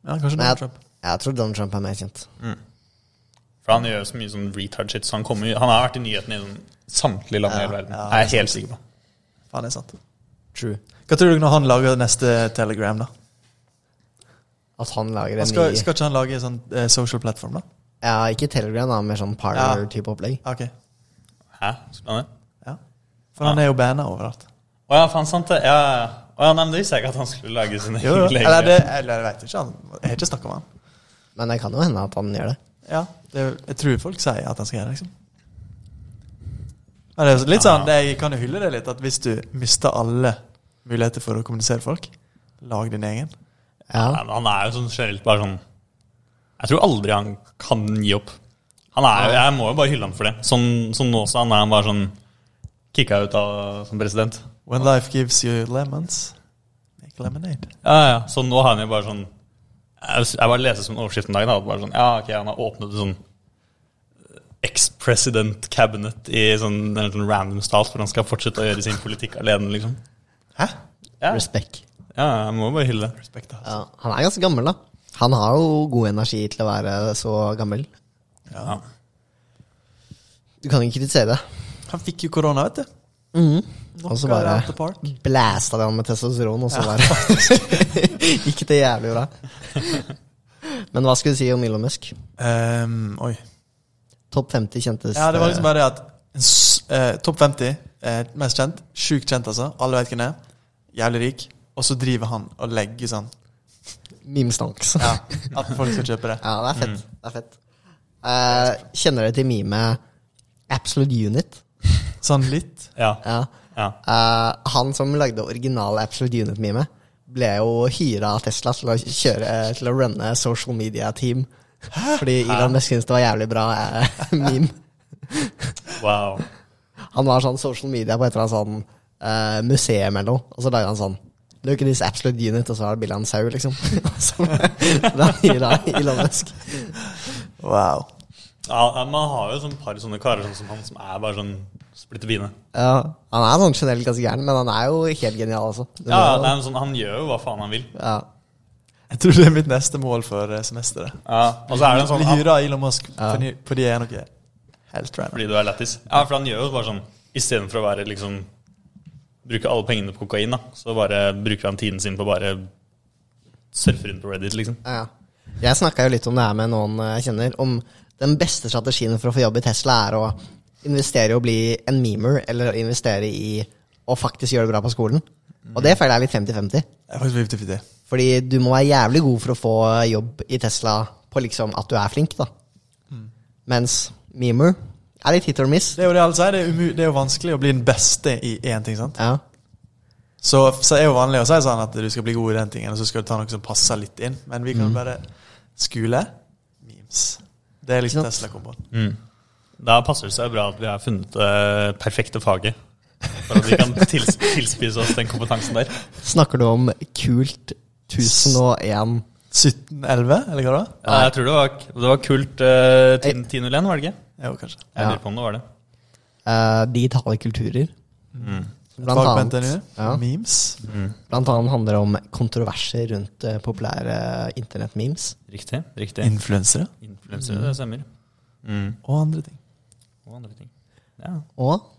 Speaker 1: Ja, kanskje
Speaker 2: Men
Speaker 1: Donald
Speaker 2: jeg,
Speaker 1: Trump.
Speaker 2: jeg tror Donald Trump er mer kjent.
Speaker 3: For han gjør så mye sånn retard shit, så han, kommer, jo- han har vært i nyhetene i sånn samtlige land i hele verden.
Speaker 1: ja,
Speaker 3: Jeg er helt sikker på.
Speaker 1: Faen, det er sant.
Speaker 2: True.
Speaker 1: Hva tror du når han lager neste telegram, da?
Speaker 2: At han lager
Speaker 1: Han
Speaker 2: en
Speaker 1: skal,
Speaker 2: ny
Speaker 1: skal ikke han lage en sånn eh, social platform, da?
Speaker 2: Ja, ikke Telegram, da, mer sånn partner-type opplegg.
Speaker 1: Ja, Ok.
Speaker 3: Hæ? Spennende.
Speaker 1: Ja. For han er jo banna overalt.
Speaker 3: Å ja, faen sant det. Ja. Å ja, nei, men det visste jeg ikke at han skulle lage sine egne
Speaker 1: Eller, det, eller jeg vet ikke. Han, jeg har ikke snakka med han.
Speaker 2: Men det kan jo hende at han gjør det.
Speaker 1: Ja, det, jeg tror folk sier at han skal gjøre det, liksom. Men det er jo litt
Speaker 3: Ja.
Speaker 1: sånn, det, jeg kan jo hylle det litt, at hvis du mister alle muligheter for å kommunisere folk, lag din egen.
Speaker 2: Ja.
Speaker 3: Nei, men han er jo sånn generelt bare sånn Jeg tror aldri han kan gi opp. Han er, jo- jeg må jo bare hylle ham for det. Sånn, sånn nå også, han er han bare sånn kicka ut av som president.
Speaker 1: When life gives you lemons, make lemonade.
Speaker 3: Ja, ja. Så nå har han jo bare sånn Jeg, jeg bare leste som overskriften i dag. Da, at bare sånn, ja, ok, Han har åpnet sånn eh, ex-president cabinet i sånn, en sånn random stat hvor han skal fortsette å gjøre sin politikk alene, liksom.
Speaker 1: Hæ?
Speaker 3: Ja, ja
Speaker 2: Respekt.
Speaker 3: jeg må jo bare hylle det.
Speaker 1: Respekt, da.
Speaker 2: Ja. Han er ganske gammel, da. Han har jo god energi til å være så gammel.
Speaker 3: Ja.
Speaker 2: Du kan ikke kritisere det.
Speaker 1: Han fikk jo korona, vet du.
Speaker 2: Mhm.
Speaker 1: Knocka
Speaker 2: Og så bare
Speaker 1: it out the park.
Speaker 2: blæsta det han med testosteron, og så bare gikk det jævlig bra. Men hva skulle du si om Elon Musk?
Speaker 1: Ehm, oi.
Speaker 2: Topp 50 kjentes eh,
Speaker 1: Ja, det var liksom bare det at s- eh, topp 50 eh, mest kjent. Sjukt kjent, altså. Alle vet hvem det er. Jævlig rik. Og så driver han og legger sånn
Speaker 2: memestanks.
Speaker 1: ja, Mm. at folk skal kjøpe det.
Speaker 2: Ja, det er fett. Det er fett. Eh, kjenner dere til memet Absolute Unit?
Speaker 1: Sånn litt.
Speaker 3: Ja.
Speaker 2: Ja.
Speaker 3: ja.
Speaker 2: Eh, han som lagde originale Absolute Unit-memet, ble jo hyra av Tesla til å kjøre Til å runne social media-team. Fordi Elon Musk syntes det var jævlig bra eh, meme.
Speaker 3: Wow.
Speaker 2: Han var sånn social media på et eller annet sånn eh, museum eller noe, og så lagde han sånn Look at this absolute unit, og så var det bilde av en sau, liksom. Og så ble han hyra av Elon Musk.
Speaker 1: Wow.
Speaker 3: Ja, ja, man har jo sånn par sånne karer sånn som han som er bare sånn splitter fine.
Speaker 2: Ja, han er sånn generelt ganske gæren, men han er jo helt genial, altså. Det
Speaker 3: Ja,
Speaker 2: må-
Speaker 3: det er en sånn, han gjør jo hva faen han vil.
Speaker 2: ja.
Speaker 1: Jeg tror det er mitt neste mål for eh, semesteret.
Speaker 3: Ja, og så er det en sånn
Speaker 1: Bli
Speaker 3: han,
Speaker 1: hyra av Elon Musk
Speaker 2: Ja.
Speaker 1: fordi, fordi jeg er noe helt random.
Speaker 3: Fordi du er lættis. Ja, for han gjør jo bare sånn Istedenfor å være liksom Bruke alle pengene på kokain, da, så bare bruker han tiden sin på å bare surfe rundt på Reddit, liksom.
Speaker 2: Ja, ja. Jeg snakka jo litt om det her med noen eh, jeg kjenner, om den beste strategien for å få jobb i Tesla er å investere i å bli en memer, eller å investere i å faktisk gjøre det bra på skolen. Og det føler jeg er litt 50-50.
Speaker 1: Det er faktisk 50-50.
Speaker 2: Fordi du må være jævlig god for å få jobb i Tesla på liksom at du er flink, da. Mens memer er litt hit or miss.
Speaker 1: Det er jo det alle sier. Det er, umu det er jo vanskelig å bli den beste i én ting. sant?
Speaker 2: Ja.
Speaker 1: Så, så er jo vanlig å si sånn at du skal bli god i den tingen, og så skal du ta noe som passer litt inn. Men vi kan
Speaker 2: Mm.
Speaker 1: jo bare skule memes. Det er liksom
Speaker 2: Ikke
Speaker 1: Tesla-komboen.
Speaker 3: Da passer det seg bra at vi har funnet det perfekte faget. For at vi kan tils tilspise oss den kompetansen der.
Speaker 2: Snakker du om kult 1001
Speaker 1: 1711, eller hva det var?
Speaker 3: Ja, jeg tror det var, det var kult eh, 10 1001, var det ikke?
Speaker 1: Jo, kanskje.
Speaker 3: Jeg
Speaker 2: Ja.
Speaker 3: lurer på om det var det.
Speaker 2: eh, digitale kulturer?
Speaker 3: Mm.
Speaker 2: Blant
Speaker 1: Fag på
Speaker 2: annet,
Speaker 1: NTNU.
Speaker 2: ja,
Speaker 1: Memes.
Speaker 2: blant annet handler det om kontroverser rundt eh, populære internettmemes.
Speaker 3: Riktig. riktig.
Speaker 1: Influensere.
Speaker 3: Influenser, det stemmer. Mm.
Speaker 1: Og andre ting.
Speaker 3: Og andre ting. Ja.
Speaker 2: Og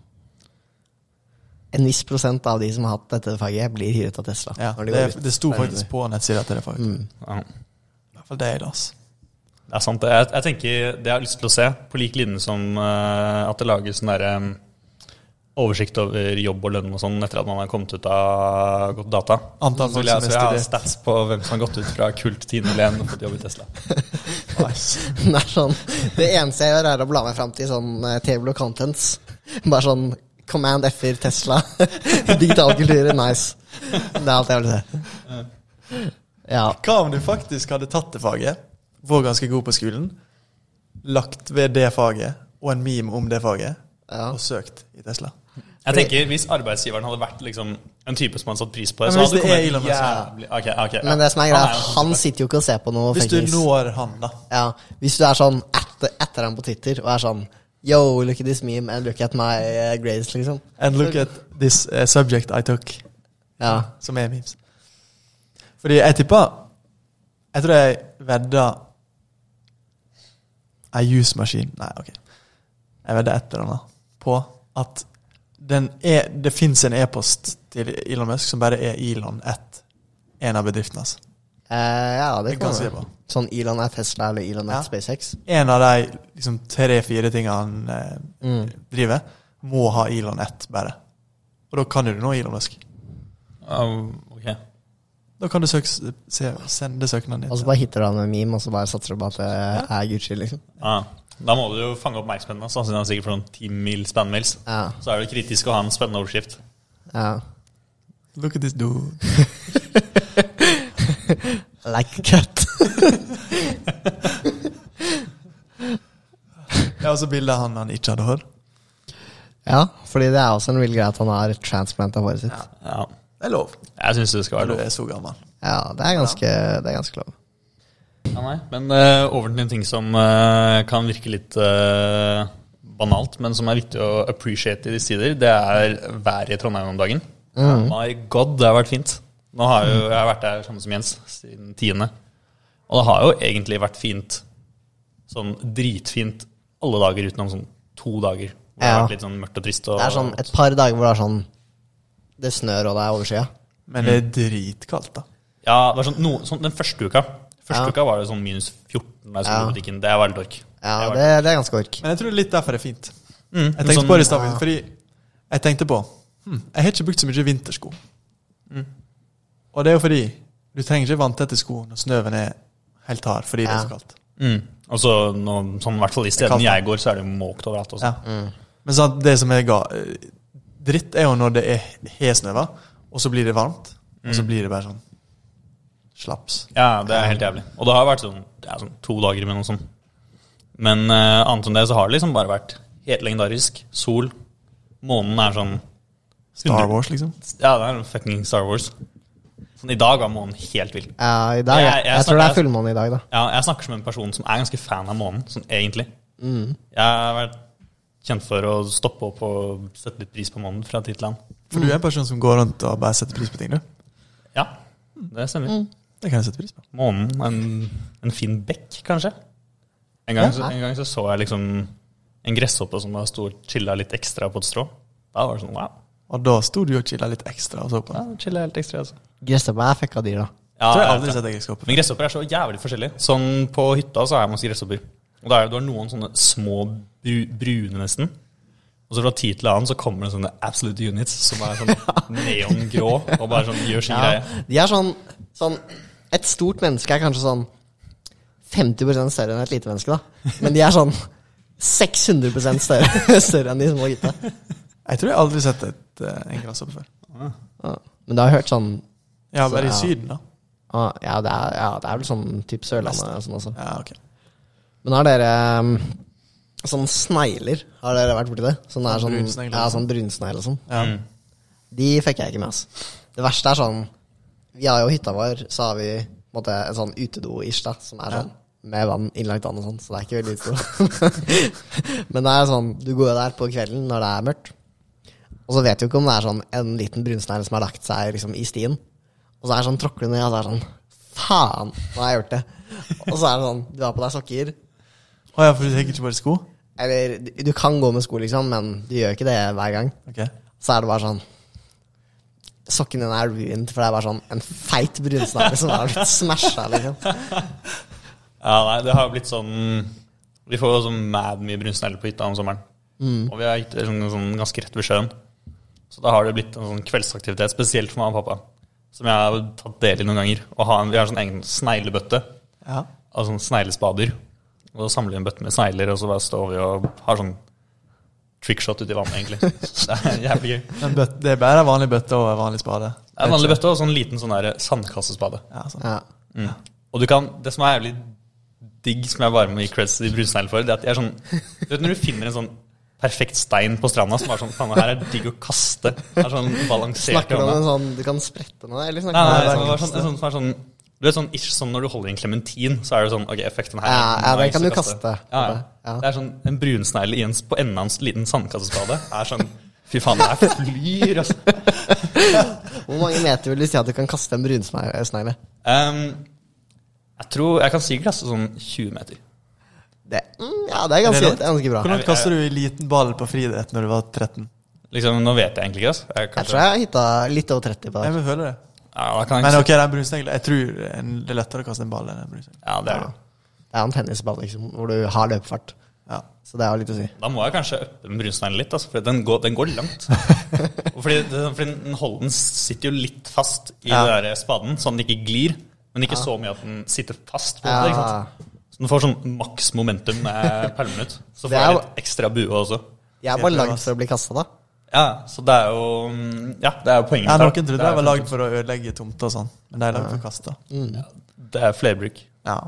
Speaker 2: en viss prosent av de som har hatt dette faget, blir hyret av Tesla.
Speaker 1: Ja,
Speaker 2: når de
Speaker 1: det,
Speaker 2: går ut.
Speaker 1: det sto faktisk på nettsida til det faget.
Speaker 2: Mm.
Speaker 3: ja.
Speaker 1: I hvert fall det er det, altså.
Speaker 3: Det er sant. det. Jeg, jeg tenker Det jeg har lyst til å se, på lik linje som eh, at det lages sånn derre eh, oversikt over jobb og lønn og sånn etter at man har kommet ut av gått data.
Speaker 1: Antall
Speaker 3: Så
Speaker 1: folk
Speaker 3: vil jeg,
Speaker 1: som
Speaker 3: så
Speaker 1: er
Speaker 3: jeg har
Speaker 1: studert.
Speaker 3: stats på hvem som har gått ut fra kult 1001 og fått jobb i Tesla.
Speaker 1: Nice.
Speaker 2: Den er sånn, det eneste jeg gjør, er å bla meg fram til sånn eh, table og contents. Bare sånn Command F-er, Tesla, digitale kulturer, nice. Det er alt jeg vil se. Ja.
Speaker 1: Hva om du faktisk hadde tatt det faget, var ganske god på skolen, lagt ved det faget og en meme om det faget,
Speaker 2: Ja.
Speaker 1: og søkt i Tesla?
Speaker 3: Jeg tenker Hvis arbeidsgiveren hadde vært liksom en type som hadde satt pris på det,
Speaker 1: Ja,
Speaker 3: så
Speaker 1: men
Speaker 3: hadde
Speaker 1: hvis
Speaker 3: det
Speaker 1: det er
Speaker 3: kommet
Speaker 1: Elon Musk, ja.
Speaker 3: jævlig Ok, ok, ja.
Speaker 2: Men det som er greia, er
Speaker 3: Han
Speaker 2: at
Speaker 3: jo
Speaker 2: han sitter jo ikke og ser på noe
Speaker 1: Hvis du
Speaker 2: fuckings-
Speaker 1: når han, da.
Speaker 2: ja, Hvis du er sånn etter, etter ham på Twitter og er sånn Yo, look at this meme and look at my eh, grades, liksom.
Speaker 1: And look at this eh, subject I took.
Speaker 2: Ja.
Speaker 1: Som er memes. Fordi jeg tippa Jeg tror jeg vedda ei jusmaskin Nei, OK. Jeg vedda et eller annet på at den er, det fins en e-post til Elon Musk som bare er Elon at en av bedriftene hans.
Speaker 2: Eh, ja, det
Speaker 1: Det kan
Speaker 2: kan
Speaker 1: jeg si
Speaker 2: være.
Speaker 1: på.
Speaker 2: Sånn Elon er Tesla eller Elon
Speaker 1: Ja.
Speaker 2: er SpaceX.
Speaker 1: En av de liksom, tre-fire tingene han eh,
Speaker 2: Mm.
Speaker 1: driver, må ha Elon at, bare. Og da kan du nå Elon Musk.
Speaker 3: Ah, ok.
Speaker 1: Da kan du søke, se, sende søknaden
Speaker 2: Og så
Speaker 1: din.
Speaker 2: bare hitter du han en meme, og så bare satser du på at det er Gucci, liksom.
Speaker 3: Ah, Da må du jo fange oppmerksomheten. hans, da, siden han sikkert får noen 10 mil spannmils.
Speaker 2: Ja,
Speaker 3: Så er det kritisk å ha en spennende overskrift.
Speaker 2: ja.
Speaker 1: Look at this dude.
Speaker 2: Like a cat.
Speaker 1: Ja, og så bildet av han han ikke hadde hår.
Speaker 2: Ja, fordi det er også en vill greie at han har transplanta håret sitt.
Speaker 3: Ja,
Speaker 1: Det er lov
Speaker 3: jeg syns det skal
Speaker 1: når
Speaker 3: være
Speaker 1: du
Speaker 3: lov.
Speaker 1: er så gammel.
Speaker 2: Ja, det er ganske, det er ganske lov.
Speaker 3: Ja, nei. Men eh, over til en ting som eh, kan virke litt eh, banalt, men som er viktig å appreciate i disse tider. Det er været i Trondheim om dagen.
Speaker 2: Mm.
Speaker 3: Oh My god, det har vært fint. Nå har jo, jeg har vært der samme som Jens siden tiende. Og det har jo egentlig vært fint. Sånn dritfint alle dager utenom sånn to dager. Hvor det har
Speaker 2: Ja.
Speaker 3: vært litt sånn mørkt og trist. Og,
Speaker 2: Det er sånn et par dager hvor det er sånn Det snør og det er overskya.
Speaker 1: Men det er dritkaldt, da.
Speaker 3: Ja, det var sånn, no, sånn den første uka. Første
Speaker 2: Ja.
Speaker 3: uka var det sånn minus 14 da jeg skulle
Speaker 2: Ja.
Speaker 3: på butikken. Det var litt ork.
Speaker 2: Ja,
Speaker 3: Det var-
Speaker 2: det, det er ganske ork.
Speaker 1: Men jeg tror det er litt derfor det er fint.
Speaker 3: Mm,
Speaker 1: Jeg tenkte
Speaker 3: sånn-
Speaker 1: på det i stad,
Speaker 2: Ah.
Speaker 1: fordi jeg tenkte på hm, Jeg har ikke brukt så mye vintersko. Mm. Og det er jo fordi du trenger ikke vanntette sko når snøen er helt hard fordi det er
Speaker 2: Ja.
Speaker 1: så kaldt.
Speaker 3: Mm. Og så nå, sånn, i hvert fall i stedene
Speaker 1: kaldt, da.
Speaker 3: jeg går, så er det jo måkt overalt også.
Speaker 1: Ja.
Speaker 2: Mm.
Speaker 1: Men sånn, at det som er ga dritt, er jo når det er har snø, va? og så blir det varmt, og så blir det bare sånn slaps.
Speaker 3: Ja, det er helt jævlig. Og det har vært sånn, det er sånn to dager med noe sånt. Men eh, annet enn det så har det liksom bare vært helt legendarisk. Sol. Månen er sånn
Speaker 1: Star Wars, liksom.
Speaker 3: Ja, det er fucking Star Wars. Sånn, I dag var månen helt vill.
Speaker 2: Ja, i dag,
Speaker 3: Jeg-
Speaker 2: jeg,
Speaker 3: jeg
Speaker 2: jeg tror det
Speaker 3: snakker-
Speaker 2: er fullmåne i dag, da.
Speaker 3: Ja, jeg snakker som en person som er ganske fan av månen, sånn egentlig. Jeg har vært kjent for å stoppe opp og sette litt pris på månen fra tid til annen.
Speaker 1: For du er en person som går rundt og bare setter pris på ting, du.
Speaker 3: Ja, det stemmer.
Speaker 1: Det kan jeg sette pris på.
Speaker 3: månen. En, en fin bekk, kanskje. En gang, så,
Speaker 2: Ja.
Speaker 3: en gang så, så jeg liksom en gresshoppe som bare sto og chilla litt ekstra på et strå. Da var det sånn wow.
Speaker 1: Og da sto du og chilla litt ekstra og så på.
Speaker 3: Ja, chilla helt ekstra, altså.
Speaker 2: Gresshoppa er fucka dyr, da.
Speaker 3: Ja,
Speaker 1: tror jeg
Speaker 3: ja,
Speaker 1: aldri
Speaker 3: ja.
Speaker 1: har sett deg i skapet.
Speaker 3: Men gresshopper er så jævlig forskjellige. Sånn på hytta så er det masse gresshopper. Og da er det du har noen sånne små bru, brune, nesten. Og så fra tid til annen så kommer det sånne absolute units som er sånn neongrå og bare sånn gjør sin
Speaker 2: Ja,
Speaker 3: greie.
Speaker 2: de er sånn, sånn Et stort menneske er kanskje sånn 50 større enn et lite menneske, da. Men de er sånn 600 større, større enn de små gutta.
Speaker 1: Jeg tror jeg aldri har sett et, eh, en gresshoppe før.
Speaker 2: Ja. Men du har hørt sånn
Speaker 1: Ja,
Speaker 2: Så,
Speaker 1: bare i
Speaker 2: ja.
Speaker 1: Syden, da.
Speaker 2: ah, ja, det er, ja, det er vel sånn type Sørlandet og sånn også.
Speaker 1: Ja, ok.
Speaker 2: Men har dere um, sånn snegler? Har dere vært borti det? Sånn, det er sånn,
Speaker 1: Brunsnegler,
Speaker 2: ja,
Speaker 1: liksom.
Speaker 2: sånn brunsnegl og sånn.
Speaker 1: Ja.
Speaker 2: De fikk jeg ikke med, ass. Det verste er sånn Vi har jo hytta vår, så har vi på en måte, en sånn utedo-ish, da, som er sånn med vann, innlagt vann og sånn, så det er ikke veldig utedo. Men det er sånn, du går jo der på kvelden når det er mørkt, og så vet du ikke om det er sånn en liten brunsnegl som har lagt seg liksom i stien, og så er det sånn tråkker du ned, og så er det sånn Faen, nå har jeg gjort det. Og så er det sånn, du har på deg sokker,
Speaker 1: Å ja, for du tenker ikke på det sko?
Speaker 2: eller du- du kan gå med sko, liksom, men du gjør ikke det hver gang.
Speaker 1: Ok.
Speaker 2: Så er det bare sånn Sokken din er ruined, for det er bare sånn en feit brunsnare som har blitt smasha, liksom.
Speaker 3: Ja, nei, det har blitt sånn Vi får jo sånn mad mye brunsnegler på hytta om sommeren. Og vi har hytter sånn, sånn, ganske rett ved sjøen. Så da har det blitt en sånn kveldsaktivitet, spesielt for meg og pappa, som jeg har tatt del i noen ganger. Å ha en, vi har en sånn egen sneglebøtte
Speaker 1: Ja.
Speaker 3: av sånne sneglespader. Og så samler vi en bøtte med snegler, og så bare står vi og har sånn trickshot uti vannet, egentlig. Det er jævlig gøy.
Speaker 1: Men bøt, det er bare vanlig bøtte og vanlig spade.
Speaker 3: Det er en vanlig bøtte og sånn liten sånn der sandkassespade.
Speaker 1: Ja, sånn.
Speaker 2: Ja.
Speaker 3: Og du kan, det som er jævlig digg, som jeg bare må gi creds til de brunsneglene for, det er at de er sånn Du vet når du finner en sånn perfekt stein på stranda som er sånn Faen, her er det digg å kaste. Det er sånn balansert i
Speaker 2: Snakker du om
Speaker 3: hånda.
Speaker 2: en sånn du kan sprette noe, eller
Speaker 3: Nei,
Speaker 2: snakker
Speaker 3: nei,
Speaker 2: du
Speaker 3: det
Speaker 2: om
Speaker 3: var
Speaker 2: en
Speaker 3: sånn, en sånn som er sånn du vet sånn, ish, sånn Når du holder i en klementin, så er det sånn Ok, effekten her
Speaker 2: Ja, ja, den
Speaker 3: nice
Speaker 2: kan
Speaker 3: å
Speaker 2: du kaste.
Speaker 3: Ja, ja.
Speaker 2: Ja.
Speaker 3: Det er sånn En brunsnegle i en, på enden av en liten sandkassespade er sånn Fy faen, det her flyr, altså.
Speaker 2: Hvor mange meter vil du si at du kan kaste en brunsnegle?
Speaker 3: Ehm, jeg tror Jeg kan sikkert kaste sånn 20 meter.
Speaker 2: Det, mm, ja, det er ganske,
Speaker 1: Er det
Speaker 2: det er ganske bra.
Speaker 1: Hvordan kasta du en liten ball på friidrett når du var 13?
Speaker 3: Liksom, Nå vet jeg egentlig ikke. Altså. Jeg,
Speaker 2: Jeg
Speaker 3: kanskje,
Speaker 2: tror jeg har hitta litt over 30 på
Speaker 1: Jeg
Speaker 2: det.
Speaker 1: vil føle det.
Speaker 3: Ja, da kan jeg
Speaker 1: Men
Speaker 3: ikke
Speaker 1: ok, den brunsnegla Jeg tror eh, en- det er lettere å kaste en ball enn en brunsnegle.
Speaker 3: Ja, det er det.
Speaker 2: Det er en tennisball, liksom, hvor du har løpefart.
Speaker 1: Ja.
Speaker 2: Så det er jo litt å si.
Speaker 3: Da må jeg kanskje øppe den brunsneglen litt, altså, for den går, den går langt. Og fordi, det- fordi den, hold- den sitter jo litt fast i
Speaker 1: Ja.
Speaker 3: den der spaden, så den ikke glir. Men ikke så mye at den sitter fast. på
Speaker 2: Ja.
Speaker 3: det, ikke sant? Så Den får sånn maks momentum med perlen ut. Så
Speaker 2: Det
Speaker 3: får
Speaker 2: er
Speaker 3: jeg
Speaker 2: jo-
Speaker 3: litt ekstra bue også.
Speaker 2: Jeg er
Speaker 1: Helt
Speaker 2: bare
Speaker 1: bra,
Speaker 2: lagd
Speaker 1: ass.
Speaker 2: for å bli kasta, da.
Speaker 3: Ja, så det er jo mm, Ja, det er jo poenget.
Speaker 1: Ja,
Speaker 3: mitt her.
Speaker 1: noen trodde
Speaker 3: Det er
Speaker 1: de var
Speaker 3: sånn-
Speaker 1: lagd for å ødelegge tomter og sånn, men de er lagd for å kaste.
Speaker 3: Ja, Det er flerbruk.
Speaker 1: Ja.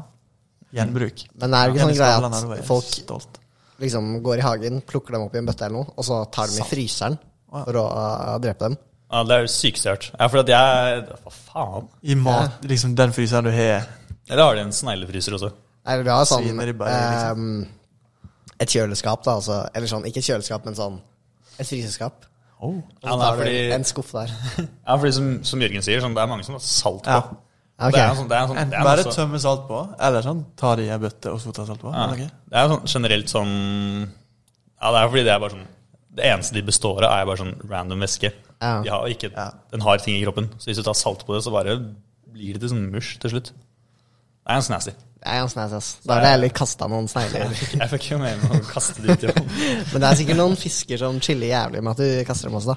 Speaker 1: Gjenbruk.
Speaker 2: Men er det ikke
Speaker 1: Jenny
Speaker 2: sånn greie
Speaker 1: Skavlan er jo
Speaker 2: at folk
Speaker 1: Stolt.
Speaker 2: liksom går i hagen, plukker dem opp i en bøtte eller noe, og så tar dem i fryseren for å uh, drepe dem?
Speaker 3: Ja, det er jo sykeste jeg har hørt. Ja, for at jeg Hva faen?
Speaker 1: I mat, liksom den fryseren du har
Speaker 3: Eller har de en sneglefryser også?
Speaker 2: Eller du har sånn
Speaker 1: Svineribbe, liksom.
Speaker 2: ehm, Et kjøleskap, da. Altså, eller sånn, ikke et kjøleskap, men sånn et fryseskap.
Speaker 1: Oh.
Speaker 2: Og
Speaker 3: Ja,
Speaker 2: så
Speaker 3: nei,
Speaker 2: tar
Speaker 3: fordi,
Speaker 2: du en skuff der.
Speaker 3: ja, fordi som, som Jørgen sier, sånn, det er mange som har salt på.
Speaker 1: Ja.
Speaker 2: Ok.
Speaker 3: Det er en sånn, det er en sånn, det
Speaker 1: Enten
Speaker 3: er
Speaker 1: bare
Speaker 3: en sånn-
Speaker 1: tømme salt på, eller sånn ta det i ei bøtte og så ta salt på.
Speaker 3: ja.
Speaker 1: eller noe.
Speaker 3: Det er sånn generelt sånn Ja, det er fordi det er bare sånn Det eneste de består av, er bare sånn random væske.
Speaker 2: Ja.
Speaker 3: De har ikke,
Speaker 1: Ja.
Speaker 3: Den har ting i kroppen. Så hvis du tar salt på det, så bare blir det til sånn mush til slutt. Det er ganske nasty.
Speaker 2: Det er ganske nice, ass. Da har jeg heller kasta noen snegler.
Speaker 3: Jeg fikk jo med meg å kaste det ut i vann.
Speaker 2: Men det er sikkert noen fisker som chiller jævlig med at du kaster dem også, da.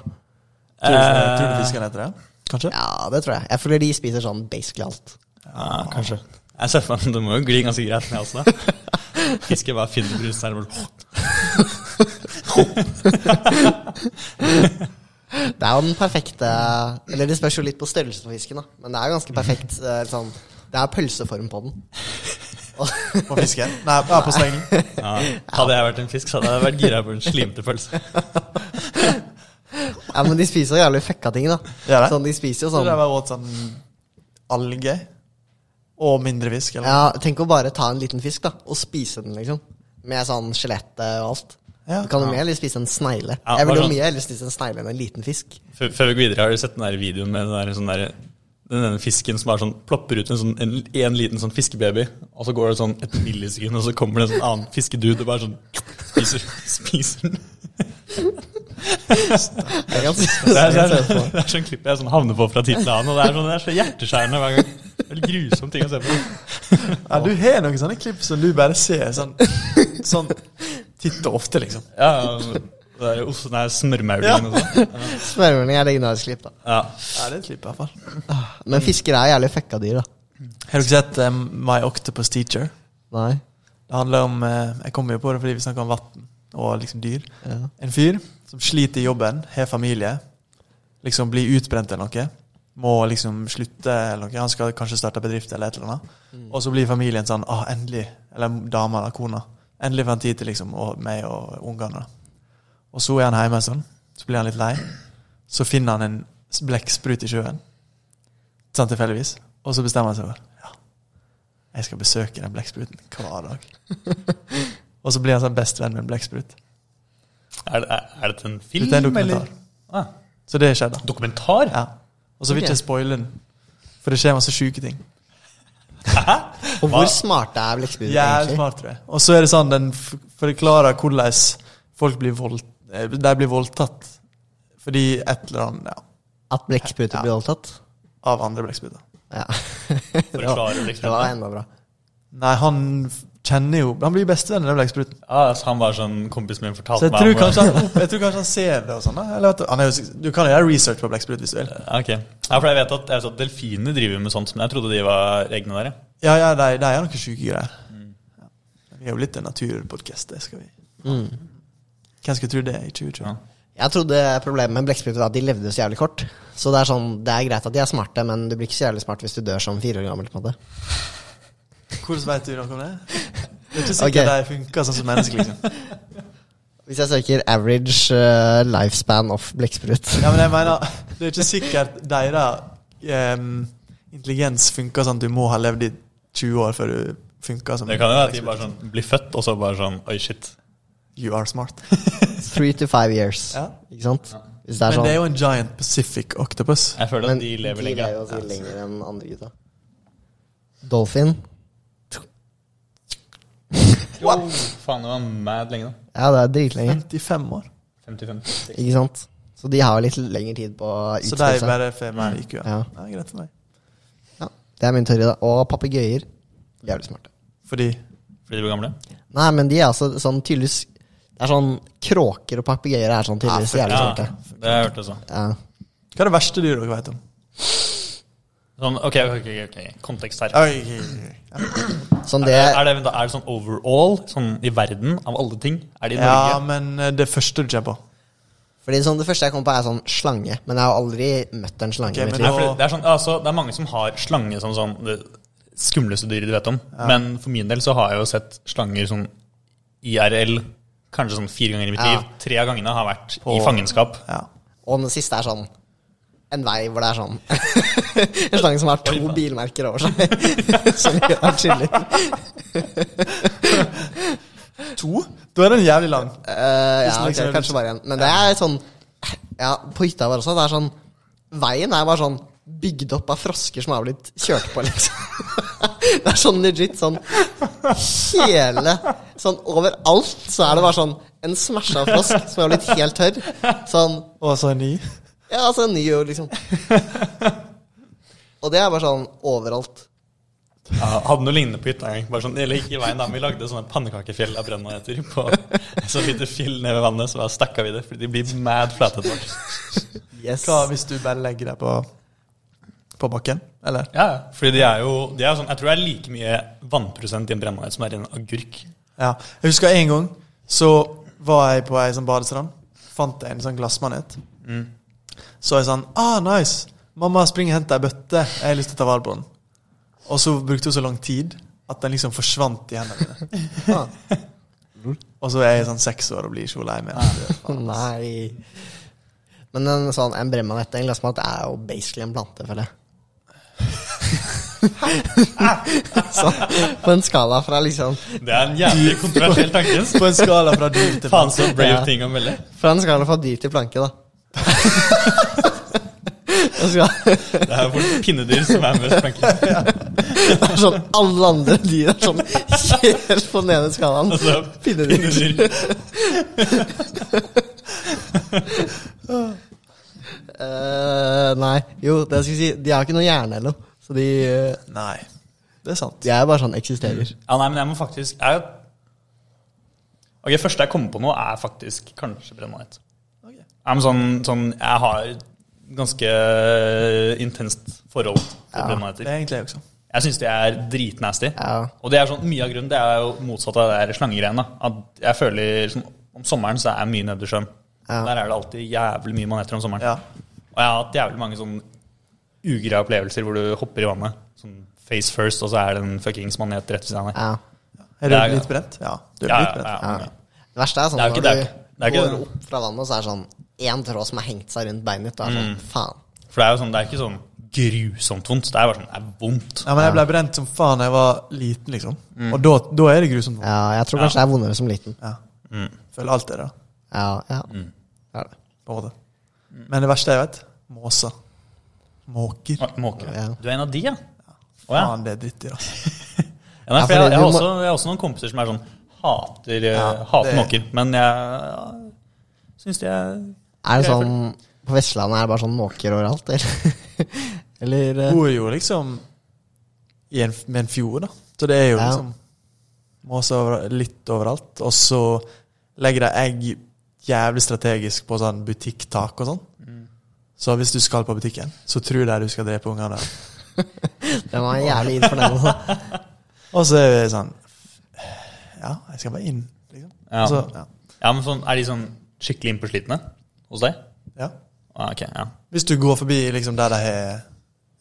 Speaker 3: Eh,
Speaker 1: Tror du- eh, Tror du fisken heter det? Kanskje?
Speaker 2: Ja, det tror jeg. Jeg føler de spiser sånn basically alt.
Speaker 3: Ja, kanskje. Jeg ser for meg Det må jo gli ganske greit ned halsen. da. Fisker bare finner brusen her og bare
Speaker 2: Det er jo den perfekte Eller det spørs jo litt på størrelsen på fisken, da. Men det er jo ganske perfekt eh, sånn Det er pølseform på den. Og,
Speaker 1: På fisken? Nei, ja, på slengen.
Speaker 3: ja. Hadde jeg vært en fisk, så hadde jeg vært gira på en slimete pølse.
Speaker 2: ja, men de spiser jo jævlig fucka ting, da.
Speaker 1: Ja, det.
Speaker 2: Sånn, de spiser jo
Speaker 1: Så
Speaker 2: sånn
Speaker 1: det var åt sånn alge og mindre fisk, eller?
Speaker 2: Ja, tenk å bare ta en liten fisk, da, og spise den, liksom. Med sånn skjelett eh, og alt.
Speaker 1: Ja.
Speaker 2: Du kan jo mye heller spise en snegle.
Speaker 3: Ja,
Speaker 2: jeg vil
Speaker 3: bare
Speaker 2: jo
Speaker 3: sånn.
Speaker 2: mye heller spise en snegle enn en liten fisk.
Speaker 3: Før før vi går videre, har du sett den der videoen med den der, sånn der, den ene fisken som bare sånn, plopper ut en, sånn, en, en liten sånn fiskebaby, og så går det sånn et millisekund, og så kommer det en sånn annen fiskedude og bare sånn spiser, spiser den.
Speaker 2: Jeg kan se-
Speaker 3: Det er,
Speaker 2: jeg
Speaker 3: det, er,
Speaker 2: kan se
Speaker 3: det,
Speaker 2: på.
Speaker 3: er, sånn klipp jeg sånn havner på fra tid til annen, og det er, sånn, det er så hjerteskjærende hver gang. Det er en grusom ting å se på.
Speaker 1: Ja, du har noen sånne klipp som du bare ser sånn, sånn titt og ofte, liksom.
Speaker 3: Ja, altså, det er jo ost- nei, smørmaulingen og sånn.
Speaker 2: Smørmelding er legendarisk klipp, da.
Speaker 3: Ja.
Speaker 1: Ja, det er et klipp, i hvert fall. Mm.
Speaker 2: Men fisker er jævlig fucka dyr, da.
Speaker 1: Har dere sett eh, My Octopus Teacher?
Speaker 2: Nei.
Speaker 1: Det handler om eh, Jeg kommer jo på det fordi vi snakker om vann og liksom dyr.
Speaker 2: Ja.
Speaker 1: En fyr som sliter i jobben, har familie, liksom blir utbrent eller noe. Må liksom slutte eller noe. Han skal kanskje starte bedrift eller et eller annet. Og så blir familien sånn ah, endelig, Eller dama eller kona. Endelig får han tid til liksom, og meg og ungene. Og så er han hjemme sånn. Så blir han litt lei. Så finner han en s- blekksprut i sjøen. Sånn tilfeldigvis. Og så bestemmer han seg for ja, jeg skal besøke den blekkspruten hver dag. og så blir han sånn bestevenn med en blekksprut.
Speaker 3: Er, det, er, er dette en film,
Speaker 1: Dette er en dokumentar.
Speaker 3: Ah,
Speaker 1: Så det skjedde.
Speaker 3: dokumentar?
Speaker 1: Ja. Og så vil
Speaker 2: Ok.
Speaker 1: ikke jeg spoile den, for det skjer masse sjuke ting.
Speaker 2: Og hvor smarte er blekkspruter
Speaker 1: Jævlig
Speaker 2: egentlig?
Speaker 1: smart, tror jeg. Og så er det sånn, den f- forklarer hvordan folk blir, vold, eh, de blir voldtatt fordi et eller annet ja,
Speaker 2: At blekkspruter blir voldtatt?
Speaker 1: av andre blekkspruter.
Speaker 2: Ja.
Speaker 3: For
Speaker 2: det,
Speaker 3: å
Speaker 2: var,
Speaker 3: klare
Speaker 2: det var enda bra.
Speaker 1: Nei, han f- kjenner jo Han blir bestevenn med den blekkspruten.
Speaker 3: Ja, så han var sånn kompisen min
Speaker 1: Så
Speaker 3: fortalte
Speaker 1: jeg tror,
Speaker 3: om hvordan-
Speaker 1: kanskje han, jeg tror kanskje han ser det og sånn. da. Eller at, han er jo, sik- du kan jo gjøre research på blekksprut hvis du vil.
Speaker 3: Ja, ok. Ja, for jeg vet at, jeg vet at delfinene driver med sånt, men jeg trodde de var egne der. ja.
Speaker 1: Ja, ja, de, de er noen sjuke greier.
Speaker 3: Mm.
Speaker 1: Ja. Vi er jo litt en naturpodkast, det skal vi.
Speaker 2: Mm.
Speaker 1: Hvem skulle tro det i 2020?
Speaker 3: Ja.
Speaker 2: Jeg trodde problemet med blekkspruter var at de levde så jævlig kort. Så det er sånn, det er greit at de er smarte, men du blir ikke så jævlig smart hvis du dør som fire år gammel. på en måte
Speaker 1: Hvordan vet du noe om det? Det er ikke sikkert
Speaker 2: Ok.
Speaker 1: de funker sånn som mennesker. liksom.
Speaker 2: Hvis jeg søker 'average eh, lifespan of blekksprut'
Speaker 1: Ja, men jeg mener, Det er ikke sikkert deres ehm, intelligens funker sånn at du må ha levd i 20 år før du funker som liksom.
Speaker 3: Det kan jo være at de bare sånn blir født, og så bare sånn Oi, shit.
Speaker 1: You are smart.
Speaker 2: Three to five years.
Speaker 1: Ja.
Speaker 2: Ikke sant? Hvis det er
Speaker 1: Men
Speaker 2: sånn
Speaker 1: det er jo en giant Pacific octopus.
Speaker 3: Jeg føler
Speaker 2: Men
Speaker 3: at de lever lenge.
Speaker 2: lever jo
Speaker 3: Ja.
Speaker 2: altså lenger enn andre gutta. Dolphin.
Speaker 3: Jo, faen, det var mad lenge, da.
Speaker 2: Ja, det er dritlenge.
Speaker 1: 55 år.
Speaker 3: 55.
Speaker 2: Ikke sant? Så de har jo litt lengre tid på å
Speaker 1: Så
Speaker 2: utstille
Speaker 1: de
Speaker 2: seg.
Speaker 1: bare får mer IQ. Ja.
Speaker 2: Ja.
Speaker 1: Det er greit for meg.
Speaker 2: Ja, det er min teori, da. Og papegøyer. Jævlig smarte.
Speaker 1: Fordi
Speaker 3: Fordi de ble gamle?
Speaker 2: Nei, men de er altså sånn tydeligvis Det er sånn Kråker og papegøyer er sånn
Speaker 1: Ja,
Speaker 2: tydeligvis
Speaker 1: for-
Speaker 2: jævlig
Speaker 3: Ja,
Speaker 2: smarte.
Speaker 3: det har jeg hørt også.
Speaker 2: Ja.
Speaker 1: Hva er det verste dyret dere vet om?
Speaker 3: Sånn, ok, ok, ok, ok, kontekst her.
Speaker 1: Oi, oi, oi, oi.
Speaker 2: Sånn
Speaker 3: er, det,
Speaker 2: det-
Speaker 3: er, det, vent da, er det sånn overall, sånn i verden, av alle ting? Er det i Norge?
Speaker 1: Ja, men eh, det første du kommer på.
Speaker 2: Fordi sånn, Det første jeg kom på, er sånn slange. Men jeg har aldri møtt en slange.
Speaker 1: Ok,
Speaker 2: i
Speaker 1: men
Speaker 2: mitt
Speaker 3: Nei,
Speaker 2: liv.
Speaker 1: da-
Speaker 3: for det, det, er sånn, altså, det er mange som har slange som sånn det skumleste dyret de vet om. Men for min del så har jeg jo sett slanger sånn IRL kanskje sånn fire ganger i mitt
Speaker 2: Ja.
Speaker 3: liv. Tre av gangene har vært
Speaker 1: På-
Speaker 3: i fangenskap.
Speaker 1: Ja.
Speaker 2: Og den siste er sånn en vei hvor det er sånn En slange som har to bilmerker over seg. Som gjør den skyldig.
Speaker 1: To? Da er den jævlig lang.
Speaker 2: Eh, ja,
Speaker 1: Hvis den
Speaker 2: ok,
Speaker 1: ikke liksom er
Speaker 2: kanskje bare en. Men det er sånn Ja, på hytta vår også. Det er sånn Veien er bare sånn bygd opp av frosker som har blitt kjørt på, liksom. Det er sånn legit sånn hele Sånn overalt så er det bare sånn en smasha frosk som har blitt helt tørr. Sånn
Speaker 1: Og så en ny.
Speaker 2: Ja, altså en ny jo, liksom. Og det er bare sånn overalt.
Speaker 3: Ja, hadde noe lignende på hytta en gang. Bare sånn, eller ikke i veien da, men Vi lagde sånne pannekakefjell av brennmaneter på et sånt lite fjell nede ved vannet. Så bare stakka vi det, fordi de blir mad flate etter hvert.
Speaker 2: Yes.
Speaker 1: Hva hvis du bare legger deg på, på bakken? Eller?
Speaker 3: Ja, fordi de er jo de er jo sånn, Jeg tror det er like mye vannprosent i en brennmanet som er i en agurk.
Speaker 1: Ja. Jeg husker en gang så var jeg på ei sånn badestrand. Fant jeg en sånn glassmanet. Mm. Så var jeg sånn Ah, nice! Mamma, spring og hent ei bøtte. Jeg har lyst til å ta vare på den. Og så brukte hun så lang tid at den liksom forsvant i hendene mine.
Speaker 2: Ah,
Speaker 1: Og så er jeg sånn seks år og blir så lei meg. at-
Speaker 2: Nei. Men en sånn en bremmanett en glassmat er jo basically en plante, føler jeg. sånn, på en skala fra liksom
Speaker 3: Det er en jævlig kontroversiell tanke.
Speaker 1: På en skala fra dyr til
Speaker 3: Faen så brave
Speaker 2: Ja.
Speaker 3: ting å melde.
Speaker 2: Fra en skala fra dyr til planke, da. Og skal-
Speaker 3: Det er fort pinnedyr som er mest plankelig.
Speaker 2: Det er sånn alle andre dyr er sånn helt på den ene skalaen.
Speaker 3: Altså,
Speaker 2: Pinnedyr.
Speaker 3: pinnedyr.
Speaker 2: Eh, nei, jo, det jeg skulle si, de har ikke noe hjerne eller noe. Så de, eh,
Speaker 1: Nei. Det er sant.
Speaker 2: de er jo bare sånn eksisterer.
Speaker 3: Ja, nei, men jeg må faktisk jeg, Ok, første jeg kommer på nå, er faktisk kanskje brennmanet.
Speaker 1: Ok.
Speaker 3: Ja, men sånn, sånn, jeg har ganske intenst forhold til
Speaker 1: Det
Speaker 3: brennmaneter.
Speaker 1: er egentlig jeg også.
Speaker 3: Jeg syns de er dritnasty.
Speaker 2: Ja.
Speaker 3: Og det er sånn, mye av grunnen det er jo motsatt av det der slangegreiene. da. At jeg føler som, Om sommeren så er jeg mye nede i sjøen.
Speaker 2: Ja.
Speaker 3: Der er det alltid jævlig mye maneter om sommeren.
Speaker 1: Ja.
Speaker 3: Og jeg har hatt jævlig mange sånn ugreie opplevelser hvor du hopper i vannet. Sånn face first, og så er det en fuckings manet rett ved siden av deg.
Speaker 2: Ja.
Speaker 1: Er
Speaker 3: Det er-
Speaker 1: du litt brent? Ja. Du er
Speaker 3: Ja,
Speaker 1: litt
Speaker 3: ja,
Speaker 1: brent.
Speaker 3: ja,
Speaker 2: Ja.
Speaker 3: ja.
Speaker 2: Det verste er sånn
Speaker 3: Det er jo
Speaker 2: når
Speaker 3: ikke-
Speaker 2: du
Speaker 3: det er ikke- det er ikke-
Speaker 2: går opp fra vannet, og så er det sånn én tråd som har hengt seg rundt beinet ditt. Og
Speaker 3: Mm.
Speaker 2: er sånn, faen.
Speaker 3: For det er jo sånn, det er ikke sånn grusomt vondt. Det er bare sånn, det er vondt.
Speaker 1: Ja, men jeg ble brent som faen da jeg var liten, liksom. Og da, da er det grusomt.
Speaker 2: Ja, jeg tror kanskje det er vondere som liten.
Speaker 1: Ja. Føler alt det, da.
Speaker 2: Ja, ja.
Speaker 3: Mm.
Speaker 2: Det er det.
Speaker 1: På en måte. Men det verste jeg vet, måser. Måker.
Speaker 3: Å, Måke.
Speaker 2: Ja.
Speaker 3: Du er en av de, ja? Å ja.
Speaker 1: Faen, det er drittdyr, altså.
Speaker 3: ja nei,
Speaker 2: Ja,
Speaker 3: for jeg,
Speaker 2: fordi du
Speaker 3: jeg, har
Speaker 2: må-
Speaker 3: også, jeg har også noen kompiser som er sånn hater, eh,
Speaker 1: Ja,
Speaker 3: hater
Speaker 1: det-
Speaker 3: måker. Men jeg ja, syns de er
Speaker 2: Er det
Speaker 3: Jeg
Speaker 2: sånn På Vestlandet er det bare sånn måker overalt, eller? eller eh,
Speaker 1: Bor jo liksom i en, med en fjord, da. Så det er jo
Speaker 2: Ja.
Speaker 1: liksom måser over, litt overalt. Og så legger de egg jævlig strategisk på sånn butikktak og sånn. Så hvis du skal på butikken, så tror de du skal drepe ungene.
Speaker 2: Den var jævlig imponerende.
Speaker 1: Og så er vi sånn Ja, jeg skal bare inn, liksom.
Speaker 3: Ja.
Speaker 1: Og så, ja.
Speaker 3: Ja, men sånn, Er de sånn skikkelig innpåslitne hos deg?
Speaker 1: ja.
Speaker 3: Ah, ok, ja.
Speaker 1: Hvis du går forbi liksom, der de har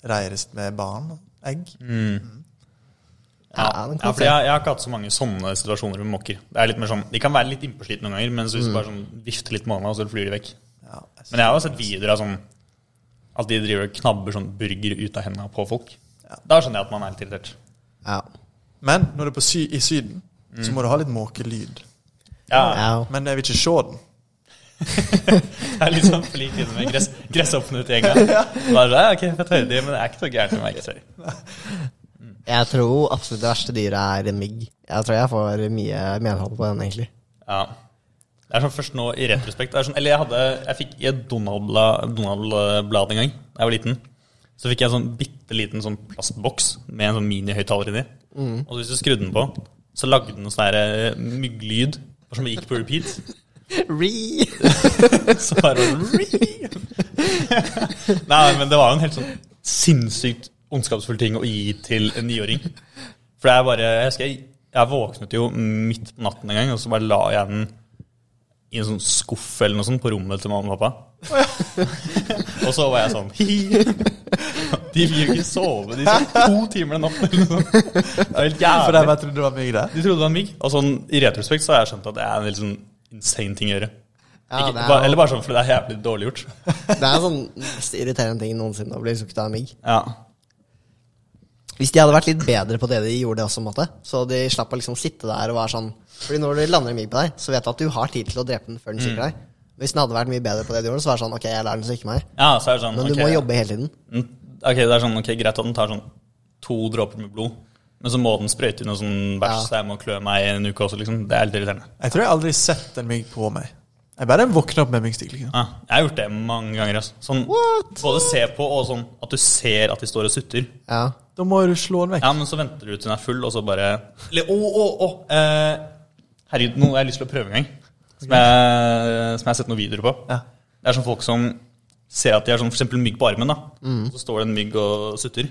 Speaker 1: reirest med barn og egg
Speaker 3: Mm. Ja,
Speaker 2: Ja, den kan
Speaker 3: ja for
Speaker 2: jeg
Speaker 3: jeg, jeg har ikke hatt så mange sånne situasjoner med måker. Det er litt mer sånn, De kan være litt innpåslitne noen ganger, men så hvis du
Speaker 2: Mm.
Speaker 3: bare sånn vifter litt med hånda, så flyr de vekk.
Speaker 1: ja,
Speaker 3: Men jeg har jo sett videoer av sånn at de driver og knabber sånn burger ut av hendene på folk. Da skjønner jeg at man er litt irritert.
Speaker 2: Ja.
Speaker 1: Men når du er på sy i Syden, så må du ha litt måkelyd.
Speaker 3: Ja,
Speaker 2: ja.
Speaker 1: Men jeg vil ikke se den.
Speaker 3: Jeg er litt sånn flink inne med gress, gresshoppene ute i enga. Bare, ja, ok, fett høyde, men det er ikke så gærent om jeg ikke ser.
Speaker 2: Jeg tror absolutt det verste dyret er mygg. Jeg tror jeg får mye medhold på den, egentlig.
Speaker 3: Ja. Det er sånn først nå i retrospekt. Det er sånn, eller jeg hadde, jeg fikk i et Donald-blad Donald en gang da jeg var liten. Så fikk jeg en sånn bitte liten sånn plastboks med en sånn minihøyttaler inni. Og hvis du skrudde den på, så lagde den sånn der eh, mygglyd som gikk på repeat.
Speaker 2: Re!
Speaker 3: Så bare var det sånn, Nei, men det var jo en helt sånn sinnssykt ondskapsfull ting å gi til en niåring. For jeg bare Jeg husker jeg, jeg våknet jo midt på natten en gang, og så bare la jeg den i en sånn skuff eller noe sånt på rommet til mamma og pappa. og så var jeg sånn De vil jo ikke sove, de sov to timer den natten. eller noe sånt. Det er helt
Speaker 1: For de
Speaker 3: jævlig.
Speaker 1: bare trodde det var mygg, det.
Speaker 3: De trodde det var mygg. Og sånn, I retrospekt så har jeg skjønt at det er en litt sånn insane ting å gjøre.
Speaker 2: Ja,
Speaker 3: ikke,
Speaker 2: det er
Speaker 3: bare,
Speaker 2: jo-
Speaker 3: eller bare sånn fordi det er jævlig dårlig gjort.
Speaker 2: Det er en sånn mest irriterende ting noensinne å bli sukket av mygg.
Speaker 3: Ja.
Speaker 2: Hvis de hadde vært litt bedre på det de gjorde, det også, på en måte, så de slapp å liksom sitte der og være sånn Fordi når du lander en mygg på deg, så vet du at du har tid til å drepe den før den
Speaker 3: Mm.
Speaker 2: stikker deg. Hvis den hadde vært mye bedre på det de gjorde, så var det sånn Ok, jeg lar den stikke meg,
Speaker 3: ja, så er det sånn
Speaker 2: men
Speaker 3: ok.
Speaker 2: du må jobbe hele tiden.
Speaker 3: Mm, Ok, det er sånn, ok, greit at den tar sånn to dråper med blod, men så må den sprøyte inn noe sånn bæsj,
Speaker 2: Ja.
Speaker 3: så jeg må klø meg i en uke også, liksom. Det er litt irriterende.
Speaker 1: Jeg tror jeg aldri har sett en mygg på meg. Jeg bare våkner opp med myggstikk. Liksom.
Speaker 3: Ja, jeg har gjort det mange ganger, altså. Sånn, både se på og sånn at du ser at de står og sutter.
Speaker 2: Ja.
Speaker 1: Da må du slå den vekk.
Speaker 3: Ja, men så venter du til den er full, og så bare Eller, å, å, å! Eh, herregud, noe jeg har lyst til å prøve en gang, som jeg, som jeg har sett noen videoer på.
Speaker 1: Ja.
Speaker 3: Det er sånn folk som ser at de har sånn for eksempel mygg på armen, da. Så står det en mygg og sutter.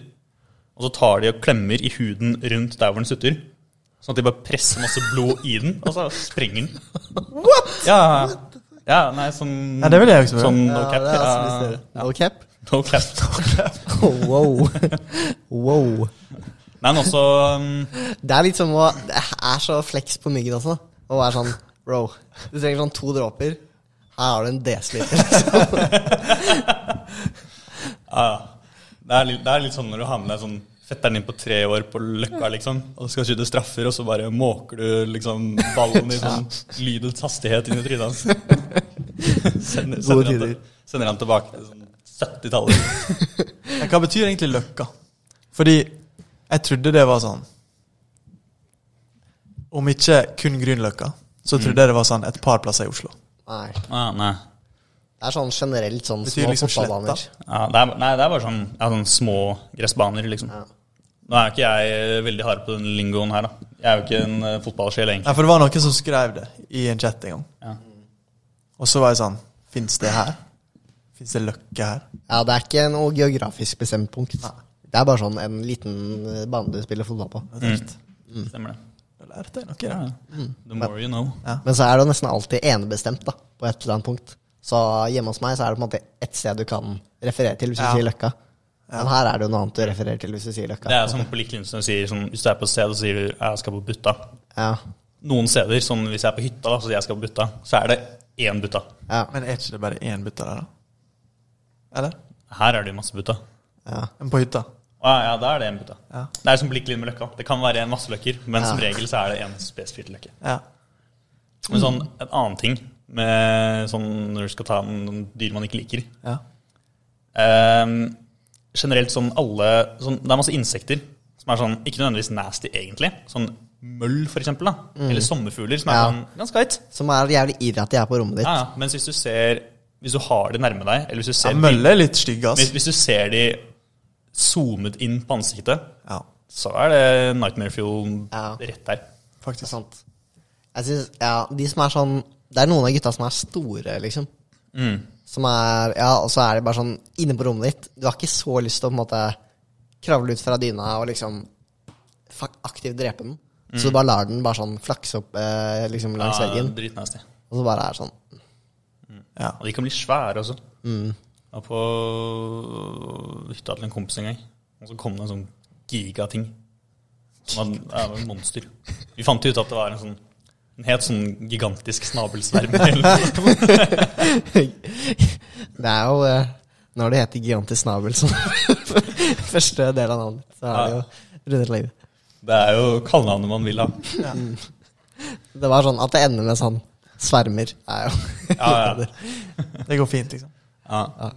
Speaker 3: Og så tar de og klemmer i huden rundt der hvor den sutter. Sånn at de bare presser masse blod i den, og så sprenger den. What?! Ja, ja nei, sånn
Speaker 1: Ja, det vil jeg også gjøre.
Speaker 3: Sånn no
Speaker 2: Ja,
Speaker 3: cap.
Speaker 2: det er altså
Speaker 3: ja.
Speaker 2: litt større. No cap?
Speaker 3: No cap.
Speaker 2: wow. wow.
Speaker 3: Nei, men også um,
Speaker 2: Det er litt som å Det er så flex på myggen også. Å være sånn Bro, du trenger sånn to dråper. Her har du en desiliter.
Speaker 3: Ja, det er, litt, det er litt sånn når du har med deg sånn fetteren din på tre år på Løkka, liksom, og skal skyte straffer, og så bare måker du liksom ballen i sånn lydets hastighet inn i trynet hans. Sender,
Speaker 2: Gode
Speaker 3: sender, han til,
Speaker 2: tider.
Speaker 3: sender han tilbake til sånn 70-tallet.
Speaker 1: Men hva betyr egentlig løkka? Fordi jeg trodde det var sånn Om ikke kun Grünerløkka, så trodde jeg det var sånn et par plasser i Oslo.
Speaker 2: Nei.
Speaker 3: Ah, nei.
Speaker 2: Det er sånn generelt sånn
Speaker 1: Betyr
Speaker 2: små
Speaker 1: liksom
Speaker 2: fotballbaner.
Speaker 1: sletta.
Speaker 3: Ja, det er, nei, det er bare sånn, ja, sånn små gressbaner, liksom.
Speaker 2: Ja.
Speaker 3: Nå er ikke jeg eh, veldig hard på den lingoen her, da. Jeg er jo ikke en eh, fotballsjel, egentlig.
Speaker 1: Nei, for det var noen som skrev det i en chat en gang.
Speaker 3: Ja.
Speaker 1: Og så var jeg sånn Fins det her? Fins det løkke her?
Speaker 2: Ja, det er ikke noe geografisk bestemt punkt. Det er bare sånn en liten eh, bane du spiller fotball på.
Speaker 1: Jeg tenkte,
Speaker 3: Mm. Stemmer det.
Speaker 1: Da lærte jeg noe.
Speaker 3: Ja,
Speaker 1: da.
Speaker 3: ja. The more you know.
Speaker 2: Men så er det jo nesten alltid enebestemt da, på et eller annet punkt. Så hjemme hos meg så er det på en måte ett sted du kan referere til hvis du
Speaker 1: Ja.
Speaker 2: sier Løkka. Men her er det jo noe annet du refererer til hvis du sier Løkka.
Speaker 3: Det er sånn på lik linje som du sier, sånn, hvis du er på et sted, så sier du 'jeg skal på butta'.
Speaker 2: Ja.
Speaker 3: noen steder, sånn hvis jeg er på hytta, da, så jeg skal på butta, så er det én butta.
Speaker 2: Ja.
Speaker 1: Men er ikke det bare én butta der, da? Eller?
Speaker 3: Her er det jo masse butta.
Speaker 2: ja.
Speaker 1: Men på hytta?
Speaker 3: Å ja, ja, da er det én butta.
Speaker 1: Ja.
Speaker 3: Det er som på lik linje med løkka. Det kan være en masse løkker, men som
Speaker 2: Ja.
Speaker 3: regel så er det en spesifikk løkke.
Speaker 1: Ja.
Speaker 3: Men sånn, en annen ting med sånn når du skal ta noen dyr man ikke liker
Speaker 1: ja.
Speaker 3: Ehm, Generelt sånn alle sånn, Det er masse insekter som er sånn ikke nødvendigvis nasty, egentlig. Sånn møll, for eksempel, da. Eller sommerfugler, som er
Speaker 2: Mm. Ja.
Speaker 3: sånn ganske høyt.
Speaker 2: Som er jævlig ivrig at de er på rommet ditt.
Speaker 3: Ja, ja. Mens hvis du ser Hvis du har det nærme deg, eller hvis
Speaker 1: ja
Speaker 3: du ser
Speaker 1: Mølle er litt stygg,
Speaker 3: Hvis,
Speaker 1: ass.
Speaker 3: hvis du ser de zoomet inn på ansiktet,
Speaker 1: Ja,
Speaker 3: så er det Nightmare Fuel
Speaker 2: Ja.
Speaker 3: rett der.
Speaker 2: Det er
Speaker 1: faktisk.
Speaker 2: sant. Jeg synes, ja, de som er sånn Det er noen av gutta som er store, liksom.
Speaker 3: Mm.
Speaker 2: Som er, ja, Og så er de bare sånn inne på rommet ditt. Du har ikke så lyst til å på en måte kravle ut fra dyna og liksom fa- aktivt drepe den. Så du bare lar den bare sånn flakse opp eh, liksom langs
Speaker 3: Mm. Ja,
Speaker 2: veggen,
Speaker 3: Dritnasty.
Speaker 2: og så bare er det sånn
Speaker 1: Ja.
Speaker 3: Og de kan bli svære også. Jeg var på hytta til en kompis en gang, og så kom det en sånn gigating. Som var- ja, det var et monster. Vi fant jo ut at det var en sånn en helt sånn gigantisk snabelsverm. eller-
Speaker 2: Det er jo eh, Når det heter gigantisk snabel som første del av navnet, så er det
Speaker 3: Ja.
Speaker 2: jo rundet livet.
Speaker 3: Det er jo kallenavnet man vil ha.
Speaker 2: Det var sånn at det ender med sånn svermer. Er jo
Speaker 3: Ja, ja.
Speaker 1: Det går fint, liksom.
Speaker 3: Ja.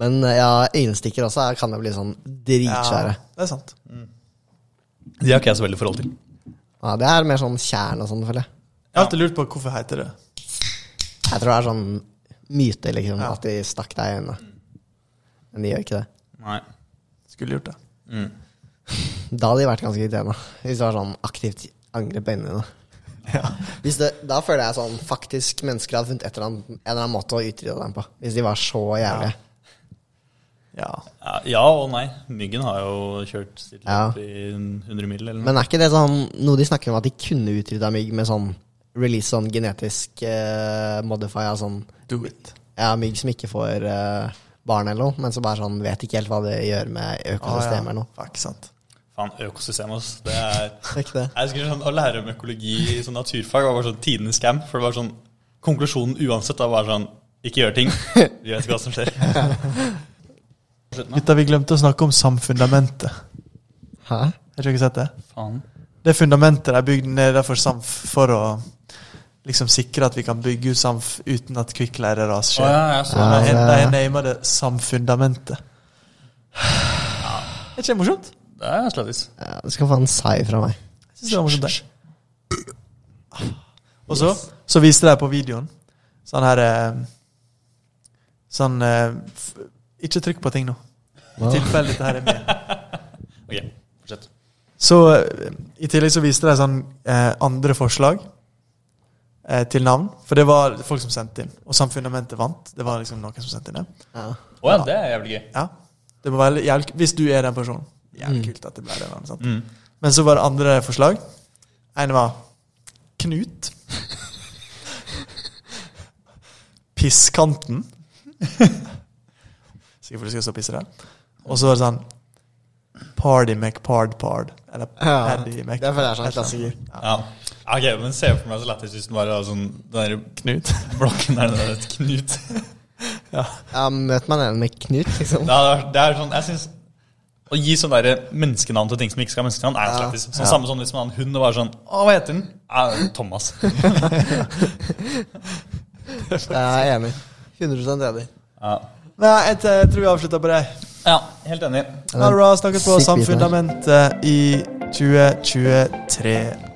Speaker 2: Men eh, ja, øyenstikker også er- kan jo bli sånn dritsvære. Ja.
Speaker 1: det er sant.
Speaker 3: De har ikke jeg så veldig forhold til.
Speaker 2: det er mer sånn tjern og sånn, føler jeg.
Speaker 1: Jeg har alltid lurt på hvorfor heter det
Speaker 2: Jeg tror det er sånn myte, liksom,
Speaker 1: Ja.
Speaker 2: at de stakk deg i øynene. Men de gjør ikke det.
Speaker 3: Nei.
Speaker 1: Skulle gjort det.
Speaker 3: Mm.
Speaker 2: Da hadde de vært ganske irriterende. Hvis det var sånn aktivt angrep på øynene dine. Hvis det, da føler jeg sånn faktisk mennesker hadde funnet et eller annet, en eller annen måte å utrydde dem på. Hvis de var så jævlige.
Speaker 1: Ja.
Speaker 3: Ja, ja og nei. Myggen har jo kjørt sitt løp
Speaker 2: Ja.
Speaker 3: i 100 mil eller noe.
Speaker 2: Men er ikke det sånn noe de snakker om at de kunne utrydda mygg med sånn release sånn genetisk uh, modify av sånn
Speaker 1: Do it.
Speaker 2: ja, mygg som ikke får eh, barn eller noe, men som bare sånn vet ikke helt hva det gjør med økosystemet eller noe?
Speaker 1: Ah, Fuck, sant.
Speaker 3: Faen, økosystemet, ass. Det er
Speaker 2: Er ikke det?
Speaker 3: Jeg husker sånn, Å lære om økologi i sånn naturfag var bare sånn tidenes scam. For det var sånn Konklusjonen uansett da var sånn Ikke gjør ting. Vi vet ikke hva som skjer. Slutten, da.
Speaker 1: Gutta, vi glemte å snakke om samfundamentet.
Speaker 2: Hæ?
Speaker 1: Har dere ikke sett det?
Speaker 3: Faen.
Speaker 1: Det fundamentet de bygde nedenfor Samf for å liksom sikre at vi kan bygge ut Samf uten at kvikkleireras
Speaker 3: Å,
Speaker 1: skjer.
Speaker 3: ja, jeg så
Speaker 1: De
Speaker 3: det.
Speaker 1: har-
Speaker 2: Ja, det-
Speaker 1: De har namet det Samfundamentet. Er ikke det morsomt?
Speaker 3: Det er slattis.
Speaker 2: Ja, du skal få en sai fra meg.
Speaker 1: Jeg synes det var morsomt det. Og så, så viste de på videoen sånn her eh, Sånn eh, f- Ikke trykk på ting nå, i tilfelle dette her er med.
Speaker 3: Ok, fortsett.
Speaker 1: Så eh, i tillegg så viste de sånn eh, andre forslag eh, til navn. For det var folk som sendte inn. Og Samfundamentet vant. Det var liksom noen som sendte inn det.
Speaker 2: Ja.
Speaker 3: Å ja, det er jævlig gøy.
Speaker 1: Ja. Det må være jævlig, hvis du er den personen. Jævlig kult at det ble det navnet. Sant?
Speaker 3: Mm,
Speaker 1: Men så var det andre forslag. En var Knut. Pisskanten. Sikkert fordi du skal stå og pisse der. Og så var det sånn Party McPard-Pard. Eller
Speaker 2: Ja,
Speaker 1: Paddy Mc...
Speaker 2: det føler jeg er sånn klassiker.
Speaker 3: Ja. Ok, men Se for meg så lættis hvis den var da sånn Den der
Speaker 1: Knut.
Speaker 3: blokken der, den der et knut.
Speaker 2: Ja, møt meg nede med Knut, liksom.
Speaker 3: Det er, det er sånn, jeg synes, Å gi sånn der menneskenavn til ting som ikke skal ha menneskenavn, er
Speaker 2: Ja.
Speaker 3: slettis. Sånn, Samme som hvis man har en hund og bare sånn Å, hva heter den? Ja, Thomas.
Speaker 2: Jeg er enig. 100 enig.
Speaker 3: Ja.
Speaker 1: Nei, jeg, t- jeg tror vi avslutter på det.
Speaker 3: ja, helt enig.
Speaker 1: Ha det bra. Snakkes på
Speaker 2: Sykt biten her.
Speaker 1: Samfundamentet i 2023.